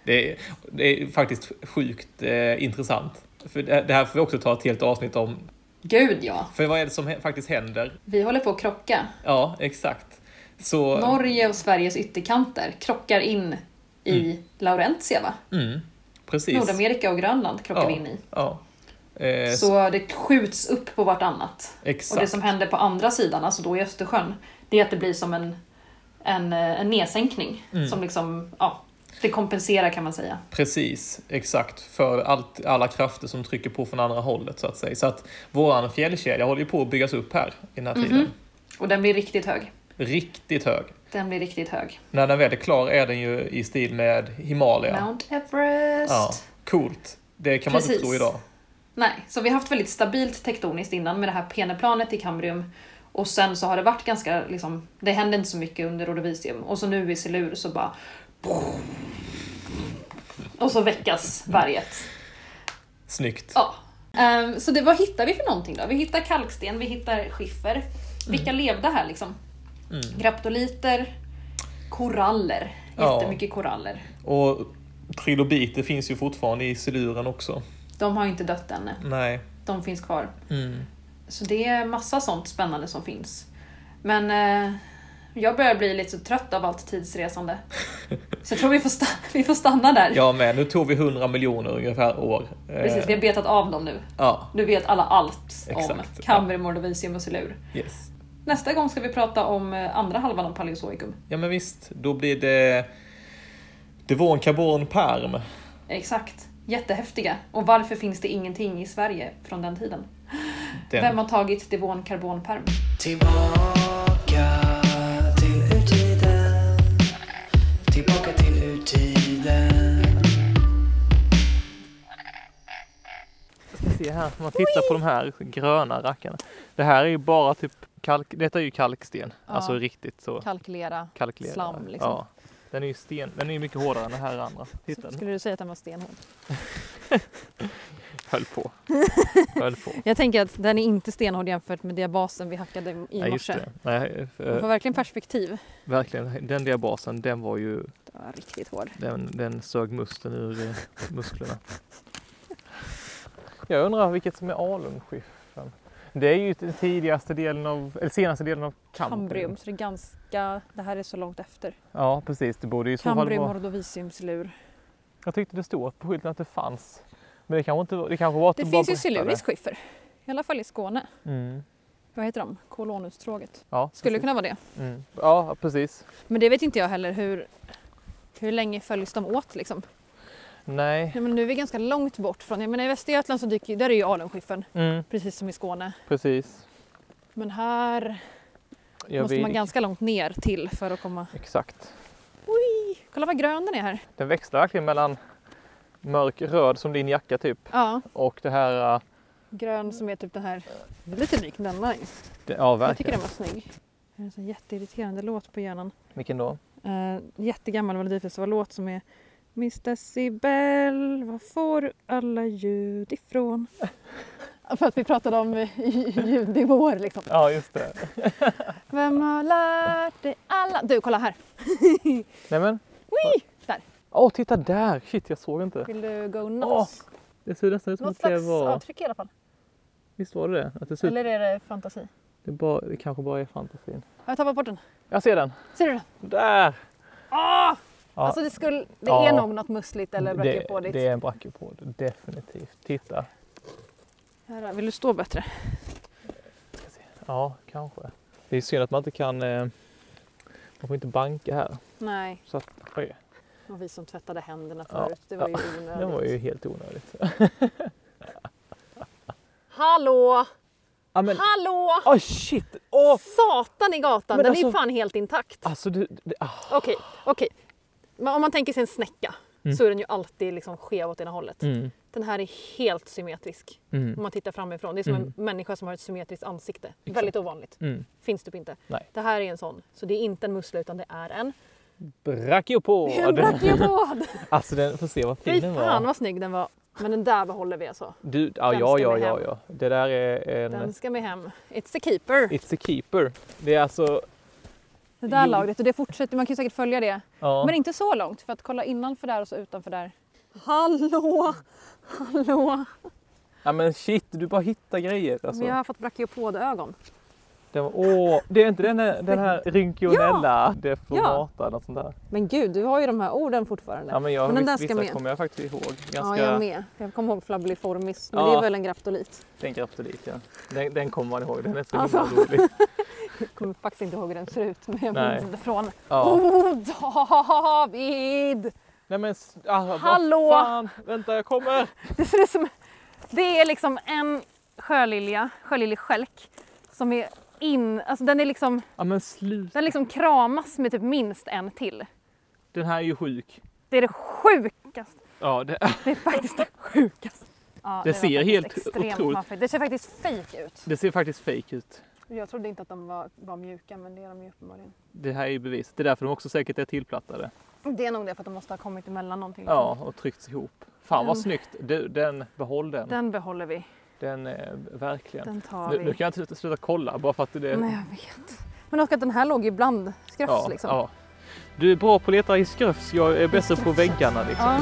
Det är, det är faktiskt sjukt eh, intressant. För det, det här får vi också ta ett helt avsnitt om.
Gud ja!
För vad är det som hä- faktiskt händer?
Vi håller på att krocka.
Ja, exakt. Så,
Norge och Sveriges ytterkanter krockar in i Laurentia, va?
mm, precis.
Nordamerika och Grönland krockar
ja,
vi in i.
Ja. Eh, så,
Så det skjuts upp på vartannat. Och
exakt.
det som händer på andra sidan, alltså då i Östersjön, det är att det blir som en, en, eh, en nedsänkning. Som liksom, ja, det kompenserar kan man säga.
Precis, exakt. För allt, alla krafter som trycker på från andra hållet så att säga. Så att våran fjällkedja håller ju på att byggas upp här i den här
Mhm.
tiden.
Och den blir riktigt hög.
Riktigt hög.
Den blir riktigt hög.
När den väl är klar är den ju i stil med Himalaya.
Mount Everest!
Ja, coolt. Det kan man
Precis.
inte tro idag.
Nej, så vi har haft väldigt stabilt tektoniskt innan med det här peneplanet i Kambrium. Och sen så har det varit ganska, liksom, det hände inte så mycket under Ordovicium. Och så nu i Silur så bara... Och så väckas berget.
Snyggt.
Ja. Ehm, så det, vad hittar vi för någonting då? Vi hittar kalksten, vi hittar skiffer. Vilka
Mm.
levde här liksom? Graptoliter, koraller.
Ja.
Jättemycket koraller.
Och trilobiter finns ju fortfarande i siluren också.
De har ju inte dött än.
Nej.
De finns kvar.
Mm.
Så det är massa sånt spännande som finns. Men eh, jag börjar bli lite så trött av allt tidsresande. Så jag tror vi får, sta- vi får stanna där.
Ja men nu tog vi 100 miljoner ungefär år. Eh,
Precis, vi har betat av dem nu.
Ja,
Nu vet alla allt om
Exakt, ja.
Cambrium, Ordovicium och Silur.
yes.
Nästa gång ska vi prata om eh, andra halvan av Paleozoikum.
Ja men visst, då blir det Devon Carbon Perm.
Exakt. Jättehäftiga. Och varför finns det ingenting i Sverige från den tiden?
Den.
Vem har tagit Devon karbonperm?
Tillbaka till urtiden Tillbaka till urtiden
ska se här, om man tittar på de här gröna rackarna. Det här är ju bara typ kalk, detta är ju kalksten.
Ja.
Alltså riktigt så
Kalkylera.
kalklerad.
Slam, liksom.
Ja. Den är ju sten, den är ju mycket hårdare än det här andra. Titta, den
Skulle du säga att den var stenhård?
höll på. Höll på.
Jag tänker att den är inte stenhård jämfört med diabasen vi hackade i
Nej, just
morse.
det. Nej, eh,
Man får
för,
verkligen perspektiv.
verkligen. Den diabasen, den var ju
Den var riktigt hård.
Den, den sög musten ur eh, musklerna. Jag undrar vilket som är alunskiffer. fram. Det är ju den tidigaste delen av, eller senaste delen av Cambrium.
Cambrium, så det är ganska... Det här är så långt efter.
Ja, precis. Det borde ju i så fall
Cambrium,
vara...
Ordoviciums lur.
Jag tyckte det stod på skylten att det fanns. Men det kanske inte var... Det, kanske var att
Det
bara
finns ju
berättade.
silurisk skiffer. I alla fall i Skåne.
Mm.
Vad heter de? Kolonustråget.
Ja,
Skulle
precis.
kunna vara det.
Mm. Ja, precis.
Men det vet inte jag heller hur... Hur länge följs de åt liksom?
Nej.
Nej, men nu är vi ganska långt bort från... Jag menar i Västergötland så dyker, där är ju alunskiffern.
Mm,
Precis som i Skåne.
precis.
Men här
Jag
måste
vet-
man ganska långt ner till för att komma...
Exakt.
Kolla vad grön den är här!
Den växlar verkligen mellan mörk röd som din jacka typ
Ja,
och det här... äh,
grön som är typ den här... Lite lik denna.
Det, ja, verkligen.
Jag tycker den var snygg. Det är en sån jätteirriterande låt på hjärnan.
Vilken då?
Uh, jättegammal melodifestivallåt som är Mr Sibel, var får du alla ljud ifrån? För att vi pratade om eh, ljudnivåer liksom.
Ja, just det.
Vem har lärt dig alla... Du, kolla här!
Nej men.
Där.
Åh, titta där! Shit, jag såg inte.
Vill du go nuts?
Det ser nästan ut som
Något
att det
slags
var...
avtryck i alla fall.
Visst var det det? Att det, ser ut...
Eller är det fantasi?
det, bara... det kanske bara är fantasin.
Har jag tappat bort den?
Jag ser den!
Ser du den?
Där! Ja.
Alltså det, skulle, det
Ah! Ja.
är nog något mussligt eller
det,
brackepådigt.
det är en brackepod, definitivt. Titta.
Här då, Vill du stå bättre?
Ja, kanske. Det är synd att man inte kan... eh, Man får inte banka här.
Nej,
Så att, oj,
och vi som tvättade händerna
Ja.
förut. Det var ju
det
onödigt.
var ju helt onödigt.
Hallå!
Ja, men...
Hallå!
Åh shit! Åh!
Satan i gatan,
Men
den är ju
alltså-
fan helt intakt.
Alltså du... du ah.
Okej, okej. Men Om man tänker sig en snäcka
Mm.
så är den ju alltid liksom skev åt ena hållet.
Mm,
Den här är helt symmetrisk om
mm,
man tittar framifrån. Det är som
Mm.
en människa som har ett symmetriskt ansikte.
Exakt.
Väldigt ovanligt.
mm.
Finns typ inte.
Nej.
Det här är en sån. Så det är inte en mussla utan det är en... En
Brachiopod!
brachiopod!
Alltså den, får se vad
Fy
fin den
fan
var.
vad snygg den var. Men den där behåller vi alltså.
Du, ja,
Den
ja,
ska
ja,
med
ja,
hem.
ja. Det där är en...
Den ska med hem. It's a keeper.
It's a keeper. Det är alltså...
Det där lagret och det fortsätter. Man kan ju säkert följa det.
Ja.
Men inte så långt för att kolla innanför där och så utanför där. Hallå! Hallå!
Alltså. ja men shit, du bara hittar grejer alltså.
Vi har fått brachiopodögon.
Den var, åh, det är inte den, här- den här rynkionella deformata eller sånt där?
Men gud, du har ju de här orden fortfarande.
Ja men jag
Men den
vis-
där ska
vissa
med.
kommer jag faktiskt ihåg. Ganska,
Ja, jag med. Jag kommer ihåg flabbliformis, men
Ja.
det är väl en graptolit.
Den graptolit ja. Den, den kommer man ihåg, den är så
Alltså.
himla rolig.
Jag kommer faktiskt inte ihåg hur den ser ut, men jag
Nej.
minns det från...
Ja.
Oh, David!
Nej men s- ah,
Hallå!
vad fan! Vänta jag kommer!
Det ser ut som... Det är liksom en sjölilja, sjöliljestjälk, som är in... Alltså den är liksom...
Ja men sluta,
Den liksom kramas med typ minst en till.
den här är ju sjuk.
Det är det sjukaste.
Ja, det,
Det är faktiskt det sjukaste. Ja,
Det ser
var faktiskt
helt
extremt
otroligt-
maffigt. Det ser faktiskt fake ut.
det ser faktiskt fake ut.
Jag trodde inte att de var, var mjuka, men det är de ju uppenbarligen.
Det här är ju bevis. Det är därför de också säkert är tillplattade.
Det är nog det för att de måste ha kommit emellan någonting. liksom.
Ja, och tryckts ihop. Fan vad
Den-
snyggt! Du, den, behåll den. Den,
Mm. Den behåller vi.
eh, verkligen.
Den tar
Nu, nu
vi.
kan jag inte sluta- sluta kolla bara för att det...
Nej, jag vet. Men också att den här låg ju bland skrafs
ja,
liksom.
ja. Du är bra på att leta i skröfs, jag är bättre på väggarna liksom.
Ja.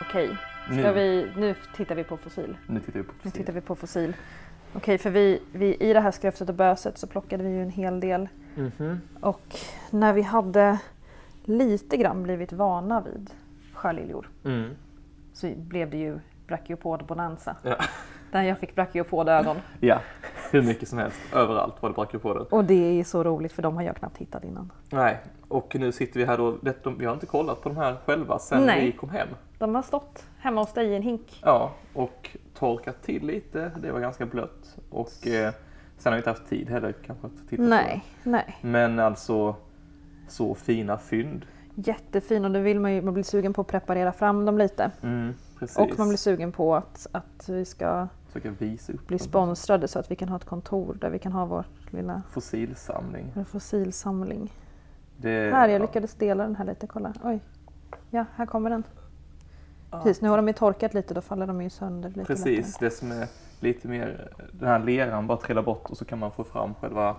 Okej, ska
Nu,
vi, nu tittar vi på fossil.
nu tittar vi på
Nu
fossil.
tittar vi på fossil. Okej, för vi, vi, i det här skröfset och böset så plockade vi ju en hel del.
Mhm.
Och när vi hade lite grann blivit vana vid sjöliljor
Mm.
så blev det ju brachiopod-bonanza.
Ja.
Där jag fick brachiopodögon.
Ja, hur mycket som helst. Överallt var det brachiopoder.
Och det är så roligt för de har jag knappt hittat innan.
Nej, och nu sitter vi här och det, de, vi har inte kollat på de här själva sen
Nej.
vi kom hem.
De har stått hemma hos dig i en hink.
Ja, och torkat till lite. Det var ganska blött. Och eh, sen har vi inte haft tid heller kanske att titta
Nej, nej.
på det. Men alltså, så fina fynd.
Jättefin och nu vill man ju man blir sugen på att preparera fram dem lite.
Mm, precis.
Och man blir sugen på att, att vi ska
Försöka visa upp
bli
dem.
sponsrade så att vi kan ha ett kontor där vi kan ha vår lilla
fossilsamling.
fossilsamling.
Det,
Här, jag
ja.
lyckades dela den här lite, kolla. Oj. Ja, här kommer den.
Ja.
Precis, nu har de ju torkat lite, då faller de ju sönder lite lättare.
Precis, det som är
lite mer, den här leran bara trillar bort och så kan man få fram själva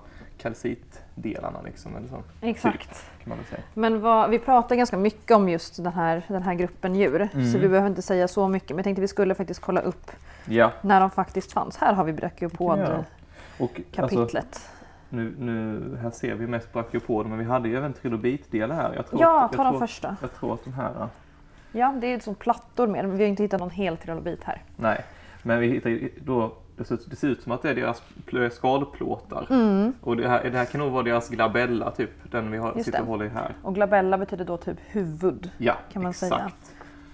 kalcitdelarna liksom. Eller så,
Exakt.
kan man väl säga.
Men vad, vi pratar ganska mycket om just den här, den här gruppen djur
Mm.
så vi behöver inte säga så mycket men jag tänkte vi skulle faktiskt kolla upp
Ja,
när de faktiskt fanns. Här har vi brachiopod-kapitlet.
och alltså, nu, nu, här ser vi mest brachiopoder men vi hade ju även trilobitdelar här. Jag tror
ja,
att,
ta
jag
de
tror,
första.
jag tror att de här
Ja, det är som plattor med dem. Vi har inte hittat någon hel trilobit här.
Nej, men vi hittar ju då det ser, det ser ut som att det är deras pl- skalplåtar. Och det här, det här kan nog vara deras glabella, typ, den vi har,
Mm. Just
sitter och
det.
håller i här.
Och glabella betyder då typ huvud
Ja,
kan man
exakt.
säga.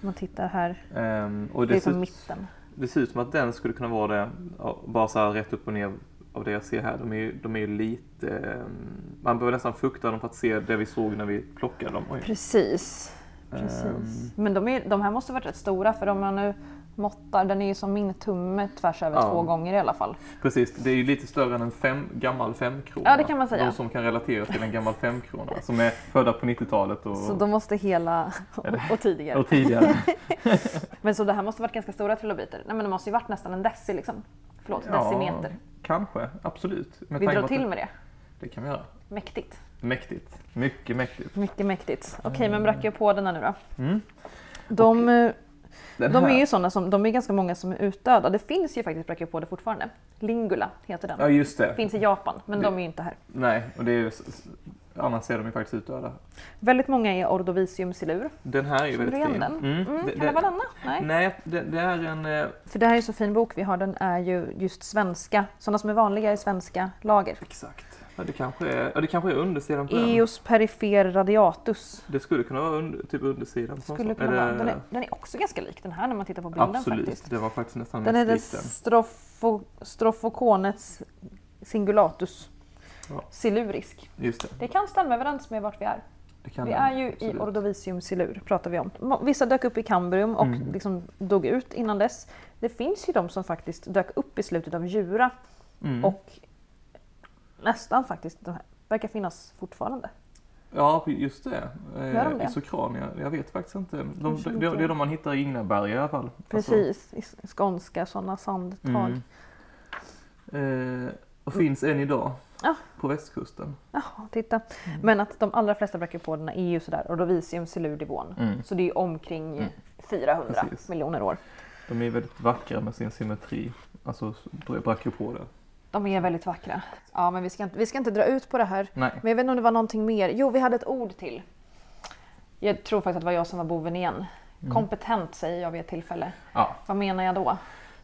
Om man tittar här,
Ehm, och
det,
det,
är som
ser,
mitten.
det ser ut som att den skulle kunna vara det, ja, bara så här rätt upp och ner av det jag ser här. De är ju, de är ju lite... ehm, man behöver nästan fukta dem för att se det vi såg när vi plockade dem. Oj.
Precis. Precis.
Ehm,
Men de, är, de här måste varit rätt stora för om man nu måttar, den är ju som min tumme tvärs över
Ja.
två gånger i alla fall.
precis, det är ju lite större än en fem, gammal femkrona.
Ja, det kan man säga.
De som kan relatera till en gammal femkrona som är födda på 90-talet och,
Så de måste hela och tidigare.
och tidigare.
Men så det här måste varit ganska stora trilobiter. Nej men det måste ju varit nästan en deci liksom. Förlåt,
Ja,
decimeter.
Kanske, absolut. Med
Vi
tanke på
drar
att
till
det-
med det.
Det kan vi göra.
Mäktigt.
Mäktigt. Mycket mäktigt.
Mycket mäktigt. Okej, men brachiopoderna nu då.
Mm.
De, eh,
Den
de
här-
är ju sådana som, de är ganska många som är utdöda. Det finns ju faktiskt brachiopoder fortfarande. Lingula heter den.
Ja, just det.
Finns i Japan, men de är ju inte här.
Nej, och det är ju... s- s- Annars ser de ju faktiskt utdöda.
Väldigt många är ordovisium silur.
Den här är ju
Känner du
väldigt
igen
fin.
den?
Mm.
Mm,
Det-
kan det
det-
vara denna? Nej.
Nej, det, det är en... eh,
För det här är en så fin bok vi har. Den är ju just svenska, sådana som är vanliga i svenska lager.
Exakt. Ja, det kanske är, ja, det kanske är undersidan på den.
Eos perifer radiatus
Det skulle kunna vara under, typ undersidan. på något
skulle
sätt.
kunna
Eller-
vara. Den är, den är också ganska lik den här när man tittar på bilden
Absolut,
faktiskt.
det var faktiskt nästan
Den
mest
heter
lik den.
strofo, Strofokonets singulatus.
Ja.
Silurisk.
Just det,
Det kan stämma överens med vart vi är.
det kan
Vi
den,
är ju i
absolut.
Ordovisium silur, pratar vi om. Må- Vissa dök upp i Cambrium och
Mm.
liksom dog ut innan dess. Det finns ju de som faktiskt dök upp i slutet av Jura
Mm.
och nästan faktiskt, de här, verkar finnas fortfarande.
Ja, just det. Eh,
Gör de det?
Isokrania. Jag vet faktiskt inte. De,
Kanske
det,
inte.
det är de man hittar i Ingnaberg i alla fall. Alltså-
Precis, i s- skånska sådana sandtag.
Mm. Eh, och finns än idag.
Ja.
På västkusten.
Jaha, titta.
Mm.
Men att de allra flesta brachiopoderna är ju E sådär ordovisium silur-nivån. Så det är ju omkring
Mm.
400
Precis.
miljoner år.
De är väldigt vackra med sin symmetri. Alltså brachiopoder.
De är väldigt vackra. Ja, men vi ska, inte, vi ska inte dra ut på det här.
Nej.
Men jag vet inte om det var någonting mer. Jo, vi hade ett ord till. Jag tror faktiskt att det var jag som var boven igen.
Mm.
Kompetent säger jag vid ett tillfälle.
Ja.
Vad menar jag då?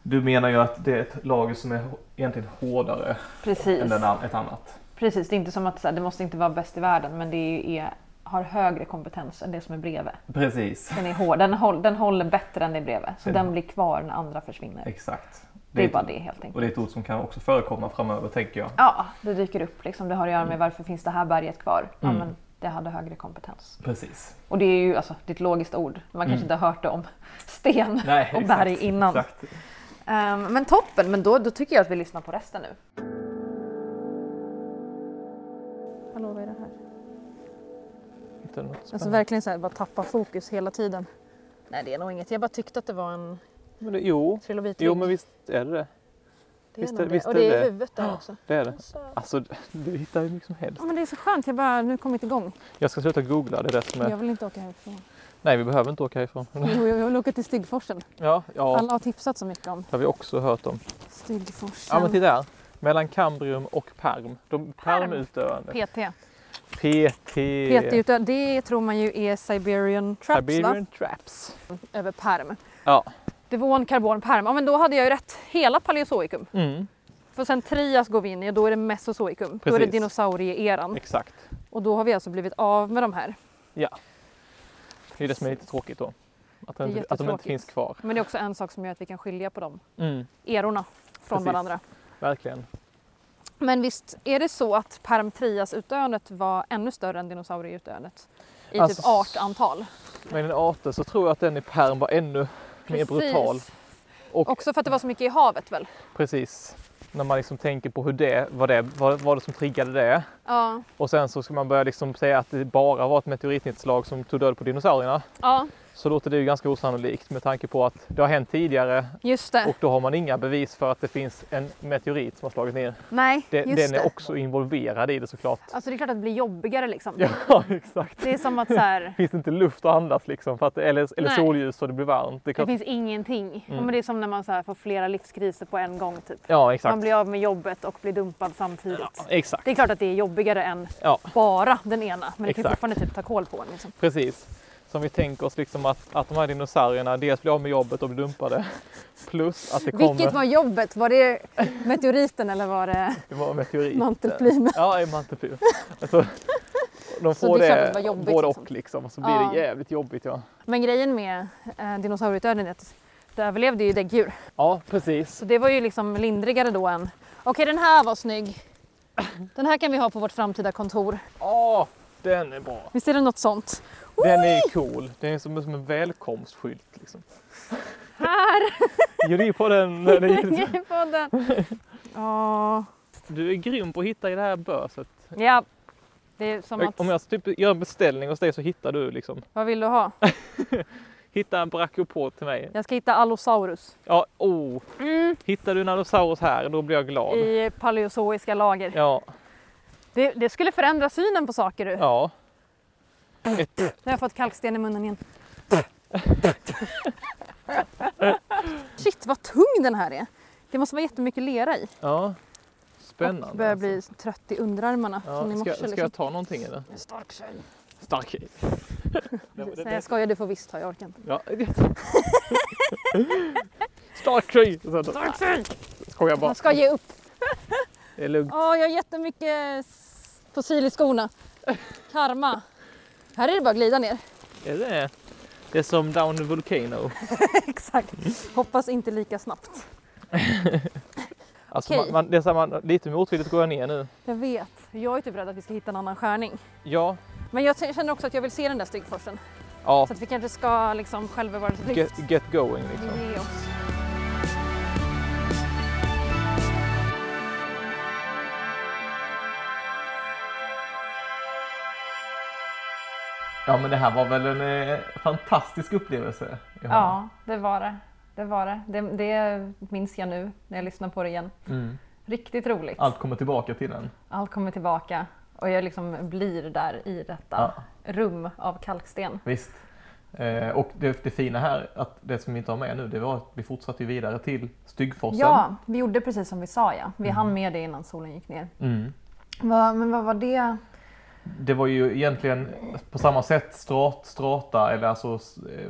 Du menar ju att det är ett lager som är hå- egentligen hårdare än
Precis.
den an- ett annat.
Precis, det är inte som att så här, det måste inte vara bäst i världen men det är, är, har högre kompetens än det som är bredvid.
Precis.
Den, är hård, den, håll, den håller bättre än det är bredvid så
Ja.
den blir kvar när andra försvinner.
Exakt.
Det är
ett-
bara det helt
Och
enkelt.
det är ett ord som kan också förekomma framöver tänker jag.
Ja, det dyker upp liksom. Det har att göra med varför finns det här berget kvar? Ja,
Mm.
men det hade högre kompetens.
Precis.
Och det är ju alltså, det är ett logiskt ord. Man kanske inte har hört det om sten
Mm. Nej,
och
exakt,
berg innan.
Exakt.
Ehm, men toppen, men då, då tycker jag att vi lyssnar på resten nu. Hallå, vad är det här?
Hittar du något
Alltså
spännande?
verkligen så här, bara tappa fokus hela tiden. Nej det är nog inget, jag bara tyckte att det var en
Men det, jo,
trilobit.
jo, men visst är det det.
det
visst
nog
är- visst
Och
är
det är
det.
huvudet där också.
Det är det.
Så-
Alltså, du hittar hur mycket som helst.
Ja, Men det är så skönt, jag bara, nu kommer jag inte igång.
Jag ska sluta googla, det är det som är...
Jag vill inte åka härifrån.
Nej, vi behöver inte åka härifrån.
Jo, jag vill åka till Styggforsen.
Ja, ja,
Alla har tipsat så mycket om
det har vi också hört om.
Styggforsen.
Ja, men titta här. Mellan Kambrium och Perm. De Permutdöende.
PT.
PT.
PT utöver, det tror man ju är Siberian Traps
Siberian Traps.
va? Över perm.
Ja.
Devon, karbon, perm. Ja men då hade jag ju rätt. Hela paleozoikum.
Mm,
För sen trias går vi in i och då är det mesozoikum. Då är det
Precis.
dinosaurieeran.
exakt.
Och då har vi alltså blivit av med de här.
Det är det som är lite tråkigt då. Att,
Det
de
är
inte, att de inte
jättetråkigt.
finns kvar.
Men det är också en sak som gör att vi kan skilja på de
Mm,
erorna från
Precis.
varandra.
verkligen.
Men visst är det så att Perm-Trias-utdöendet var ännu större än dinosaurieutdöendet? I
Alltså,
typ artantal.
Men en arter så tror jag att den i Perm var ännu mer brutal. Och-
Också för att det var så mycket i havet väl?
Precis. När man liksom tänker på hur det, vad det vad, vad det som triggade det.
Ja.
Och sen så ska man börja liksom säga att det bara var ett meteoritnedslag som tog död på dinosaurierna.
ja.
så låter det ju ganska osannolikt med tanke på att det har hänt tidigare
Just det.
och då har man inga bevis för att det finns en meteorit som har slagit ner.
Nej,
Det,
just
den är
det.
också involverad i det såklart.
Alltså det är klart att det blir jobbigare liksom.
Ja, exakt.
Det är som att så här,
Finns det inte luft att andas liksom, för att, eller, eller
Nej.
solljus så det blir varmt. Det är
det
klart. Mm.
finns ingenting. Ja, men det är som när man så här får flera livskriser på en gång typ.
Ja,
Man
exakt.
blir av med jobbet och blir dumpad samtidigt.
Exakt,
Det är klart att det är jobbigare än
Ja.
bara den ena, men det kan ju
Exakt.
fortfarande typ ta koll på en. Liksom.
precis. Som vi tänker oss liksom att, att de här dinosaurierna dels blir av med jobbet och blir dumpade. Plus att det kommer...
Vilket var jobbet? Var det meteoriten eller var det
Det var en meteorit.
mantelplymen?
Ja, en mantelplyp. Alltså, de
Så
får
det är klart
det,
att det var jobbigt,
både
liksom.
och liksom. Och så blir
Ja.
det jävligt jobbigt. Ja,
Men grejen med eh, dinosauriedöden är att det överlevde ju däggdjur.
ja precis.
Så det var ju liksom lindrigare då än okej den här var snygg. Den här kan vi ha på vårt framtida kontor.
Åh, den är bra.
Visst är det något sånt?
Den är cool. Den är som, som en välkomstskylt. Liksom.
Här!
Jo, det är på den. den är,
Hänger på den. Ja.
du är grym på att hitta i det här böset.
Ja. Det är som
Jag-
att,
Om jag typ gör en beställning hos dig så hittar du liksom.
vad vill du ha?
Hitta en brachiopod till mig.
Jag ska hitta Allosaurus
Ja, oh. Hittar du en allosaurus här, då blir jag glad.
Mm, i paleozoiska lager.
Ja,
Det, det skulle förändra synen på saker du. Nu
ja.
har jag fått kalksten i munnen igen. Shit vad tung den här är. Det måste vara jättemycket lera i.
ja.
Och
Spännande.
börjar bli trött i underarmarna från i
Ja,
morse.
ska, ska
liksom.
jag ta någonting eller?
En stark tjej.
Stark tjej.
Nej jag skojar, du får visst ta, jag orkar inte.
Ja. Stark tjej! Så-
Stark tjej!
Skojar bara.
Man ska ge upp.
Det är lugnt.
Åh, jag har jättemycket s- fossil i skorna. Karma. Här är det bara att glida ner.
Är det, det är som Down the Volcano.
Exakt. Hoppas inte lika snabbt.
Alltså,
Okej.
man, man, det är så här, man, lite motvilligt går jag ner nu.
Jag vet. Jag är typ rädd att vi ska hitta en annan skärning.
Ja,
Men jag t- känner också att jag vill se den där styggforsen.
ja.
Så att vi kanske ska liksom självbevarelsedrift.
Get, get going
Vi
liksom.
ger oss.
Ja men det här var väl en eh, fantastisk upplevelse?
Ja, det var det. Det var det. det. Det minns jag nu när jag lyssnar på det igen. Riktigt roligt.
Mm. Allt kommer tillbaka till den.
Allt kommer tillbaka och jag liksom blir där i detta
Ja.
rum av kalksten.
Visst. Eh, och det, det fina här, att det som vi inte har med nu, det var att vi fortsatte ju vidare till Styggforsen.
Ja, vi gjorde precis som vi sa ja. Vi hann med det innan solen gick ner.
Mm.
Va, men vad var det?
Det var ju egentligen på samma sätt strat, strata eller alltså eh,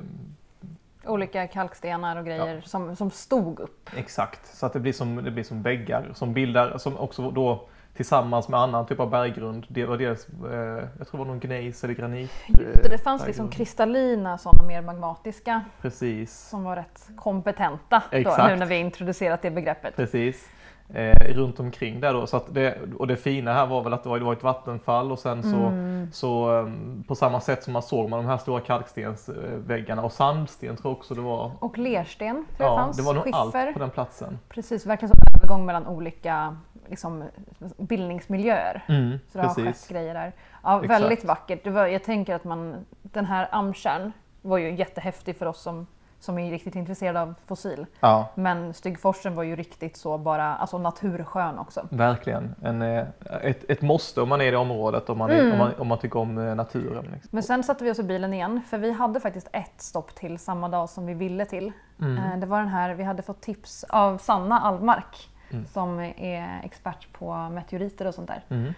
Olika kalkstenar och grejer som, som stod upp.
exakt så att det blir som, det blir som väggar som bildar som också då tillsammans med annan typ av berggrund. Det var dels, eh, jag tror det var någon gneis eller granit. Eh,
Det, det fanns
berggrund.
liksom kristallina sådana mer magmatiska
Precis,
som var rätt kompetenta då,
Exakt.
nu när vi introducerat det begreppet.
precis. Eh, runt omkring där då. Så att det, och det fina här var väl att det var, det var ett vattenfall och sen så, så eh, på samma sätt som man såg man de här stora kalkstensväggarna och sandsten tror jag också det var.
Och lersten tror jag
Ja,
fanns.
det var nog
Skiffer.
allt på den platsen.
Precis, verkligen som övergång mellan olika liksom, bildningsmiljöer.
Mm,
Så det har skett
precis.
grejer där. Ja,
Exakt.
väldigt vackert. Det var, jag tänker att man, den här Amkärn var ju jättehäftig för oss som, som är riktigt intresserade av fossil.
Ja.
Men Styggforsen var ju riktigt så bara, alltså naturskön också.
Verkligen. En, eh, ett, ett måste om man är i det området, om man, är,
Mm.
om man, om man tycker om eh, naturen. Liksom.
Men sen satte vi oss i bilen igen för vi hade faktiskt ett stopp till samma dag som vi ville till.
Mm.
Eh, Det var den här, vi hade fått tips av Sanna Almark
Mm.
som är expert på meteoriter och sånt där.
Mm.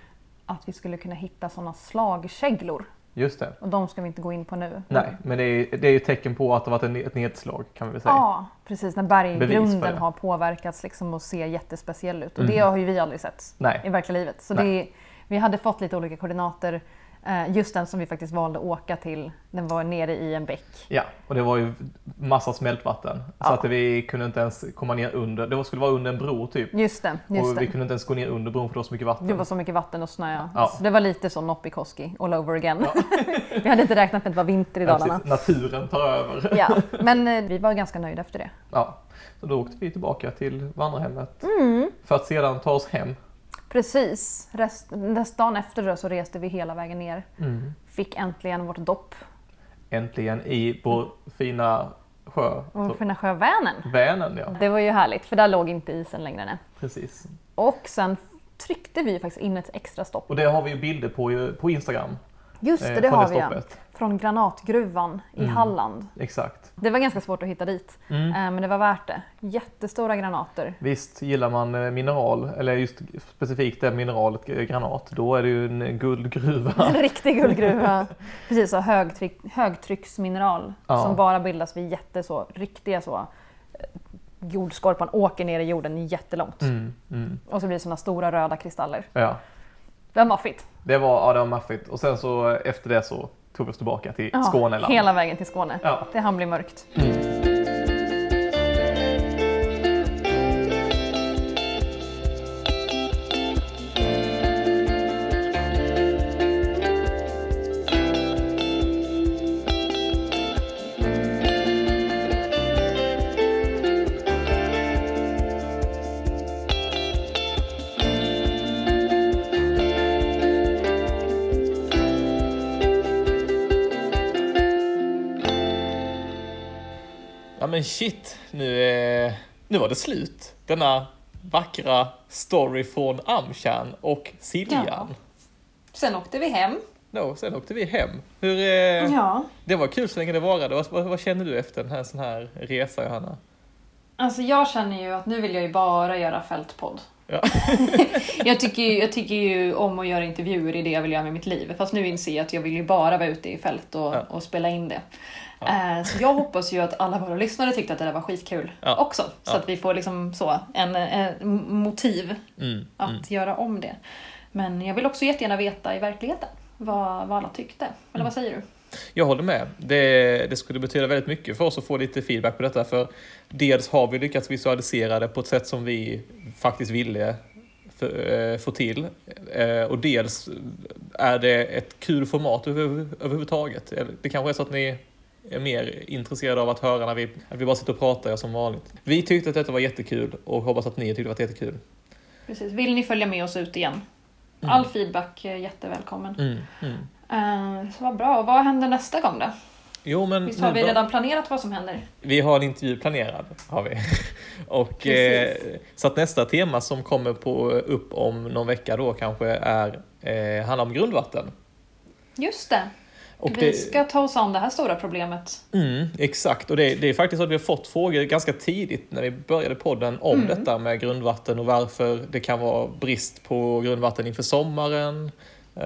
Att vi skulle kunna hitta sådana slagkäglor.
Just det.
Och de ska vi inte gå in på nu.
Nej, men det är, det är ju ett tecken på att det har varit en, ett nedslag kan vi väl säga.
Ja, precis. När
Bevis för
berggrunden
det. Mm.
har påverkats liksom och ser jättespeciell ut. Och det har ju vi aldrig sett
Nej.
i verkliga livet. Så det, vi hade fått lite olika koordinater. Eh, Just den som vi faktiskt valde att åka till, den var nere i en bäck.
Ja, och det var ju massa smältvatten. Så att vi kunde inte ens komma ner under, det skulle vara under en bro typ.
Just det, just
och
det.
vi kunde inte ens gå ner under bron för det var så mycket vatten.
Det var så mycket vatten och snö.
Ja.
Så det var lite så Noppikoski all over again. vi hade inte räknat med att det var vinter i
Ja,
Dalarna.
precis. Naturen tar över.
Ja, men eh, vi var ganska nöjda efter det.
Ja. Så då åkte vi tillbaka till vandrarhemmet
Mm.
för att sedan ta oss hem.
Precis. Mm. Rest, nästa dagen efter det så reste vi hela vägen ner. Fick äntligen vårt dopp.
äntligen i vår fina sjö.
Och fina sjö Vänern.
Vänern ja,
Det var ju härligt, för där låg inte isen längre ner.
precis.
Och sen tryckte vi faktiskt in ett extra stopp.
Och det har vi ju bilder på ju- på Instagram.
Just
eh,
det, det
från
har vi ja. Mm.
stoppet.
Från granatgruvan i Halland.
Exakt.
Det var ganska svårt att hitta dit, eh, men det var värt det. Jättestora granater.
Visst, gillar man eh, mineral, eller just specifikt det mineralet eh, granat, då är det ju en eh, guldgruva.
En riktig guldgruva. Precis, så högtryck, högtrycksmineral
Ja.
som bara bildas vid jätte så, riktiga så eh, jordskorpan åker ner i jorden jättelångt.
Mm, mm,
Och så blir det såna stora röda kristaller.
ja.
Det var maffigt.
Det var, ja, det var maffigt. Och sen så eh, efter det så tog vi oss tillbaka till
Ja,
Skåneland.
Hela vägen till Skåne.
Ja. Mm.
Det hann bli mörkt.
Ja men shit, nu, eh, nu var det slut. Denna vackra story från Amshan och Siljan.
Ja. Sen åkte vi hem.
Då, sen åkte vi hem. Hur, eh,
Ja.
Det var kul så länge det varade. Vad, vad, vad känner du efter den här, sån här resa Johanna?
Alltså jag känner ju att nu vill jag ju bara göra fältpodd.
Ja.
jag, tycker ju, jag tycker ju om att göra intervjuer i det jag vill göra med mitt liv. Fast nu inser jag att jag vill ju bara vara ute i fält och,
Ja.
och spela in det. Eh, Så jag hoppas ju att alla våra lyssnare tyckte att det där var skitkul
Ja.
också. Så
Ja.
att vi får liksom så en, en motiv
Mm.
att göra om det. Men jag vill också jättegärna veta i verkligheten vad, vad alla tyckte. Eller
Mm.
vad säger du?
Jag håller med. Det, det skulle betyda väldigt mycket för oss att få lite feedback på detta. För dels har vi lyckats visualisera det på ett sätt som vi faktiskt ville för, eh, få till. Eh, och dels är det ett kul format över, överhuvudtaget. Eller Det kanske är så att ni är mer intresserade av att höra när vi, att vi bara sitter och pratar som vanligt. Vi tyckte att detta var jättekul och hoppas att ni tyckte att det var jättekul.
Precis. Vill ni följa med oss ut igen? All feedback är jättevälkommen.
Mm, mm.
Eh, Så vad bra. Och vad händer nästa gång då?
Jo, men
Visst har
nu
vi
bör-
redan planerat vad som händer?
Vi har en intervju planerad. Har vi. Och, eh,
Precis.
så att nästa tema som kommer på, upp om någon vecka då kanske är, eh, handlar om grundvatten.
Just det.
Och
vi
det-
ska ta oss an det här stora problemet.
Mm, exakt, och det, det är faktiskt så att vi har fått frågor ganska tidigt när vi började podden om
Mm.
detta med grundvatten och varför det kan vara brist på grundvatten inför sommaren.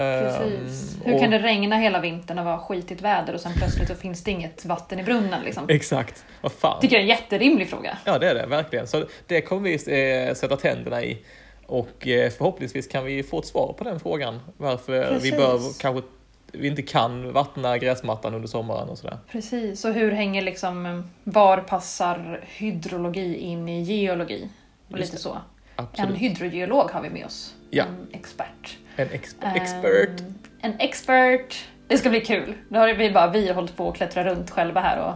Precis.
Ehm,
Hur
och-
kan det regna hela vintern och vara skitigt väder och sen plötsligt så finns det inget vatten i brunnen? Liksom?
Exakt, vad fan.
Tycker jag är en jätterimlig fråga.
Ja, det är det verkligen. Så det kommer vi eh, sätta tänderna i. Och eh, förhoppningsvis kan vi få ett svar på den frågan. Varför vi bör
Precis.
kanske vi inte kan vattna gräsmattan under sommaren och sådär.
Precis, och hur hänger liksom, eh, var passar hydrologi in i geologi? Och
Just
lite så.
Absolut.
En hydrogeolog har vi med oss.
Ja.
En expert.
En exp- expert.
Ehm, En expert. Det ska bli kul. Nu har vi bara vi hållit på att klättra runt själva här och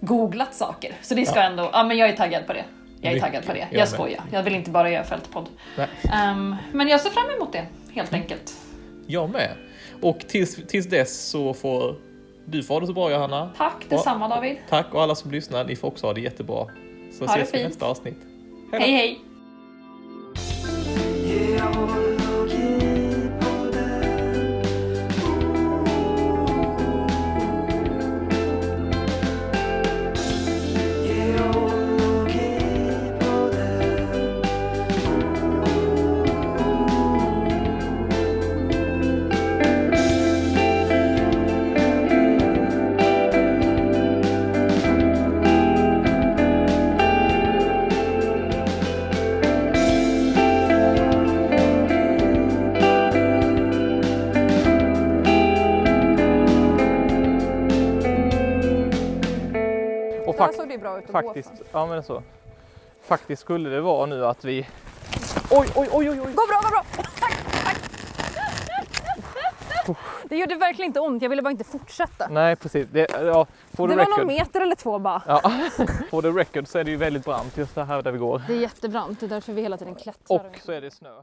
googlat saker. Så det ska ändå, ja men jag är taggad på det. Jag är
Mycket.
taggad på det.
Jag med.
Jag skojar. Jag vill inte bara göra fältpodd.
Nej,
Ehm, men jag ser fram emot det, helt enkelt.
jag med. Och tills, tills dess så får du få ha det så bra Johanna.
Tack detsamma David.
Tack och alla som lyssnar, ni får också ha det jättebra. Så
Ha det
ses vi i
fint.
nästa avsnitt. Hej då.
Hej hej!
Och
Där
fakt-
såg det bra ut att
faktiskt,
gå
ja men det är så. Faktiskt skulle det vara nu att vi... Oj, oj, oj, oj, oj!
Gå bra, gå bra! Tack, tack! Det gjorde verkligen inte ont, jag ville bara inte fortsätta.
Nej precis, det, ja, for
Det
the
var
record.
någon meter eller två bara.
Ja, for the record så är det ju väldigt brant just här där vi går.
Det är jättebrant, det är därför vi hela tiden klättrar.
Och så är det snö.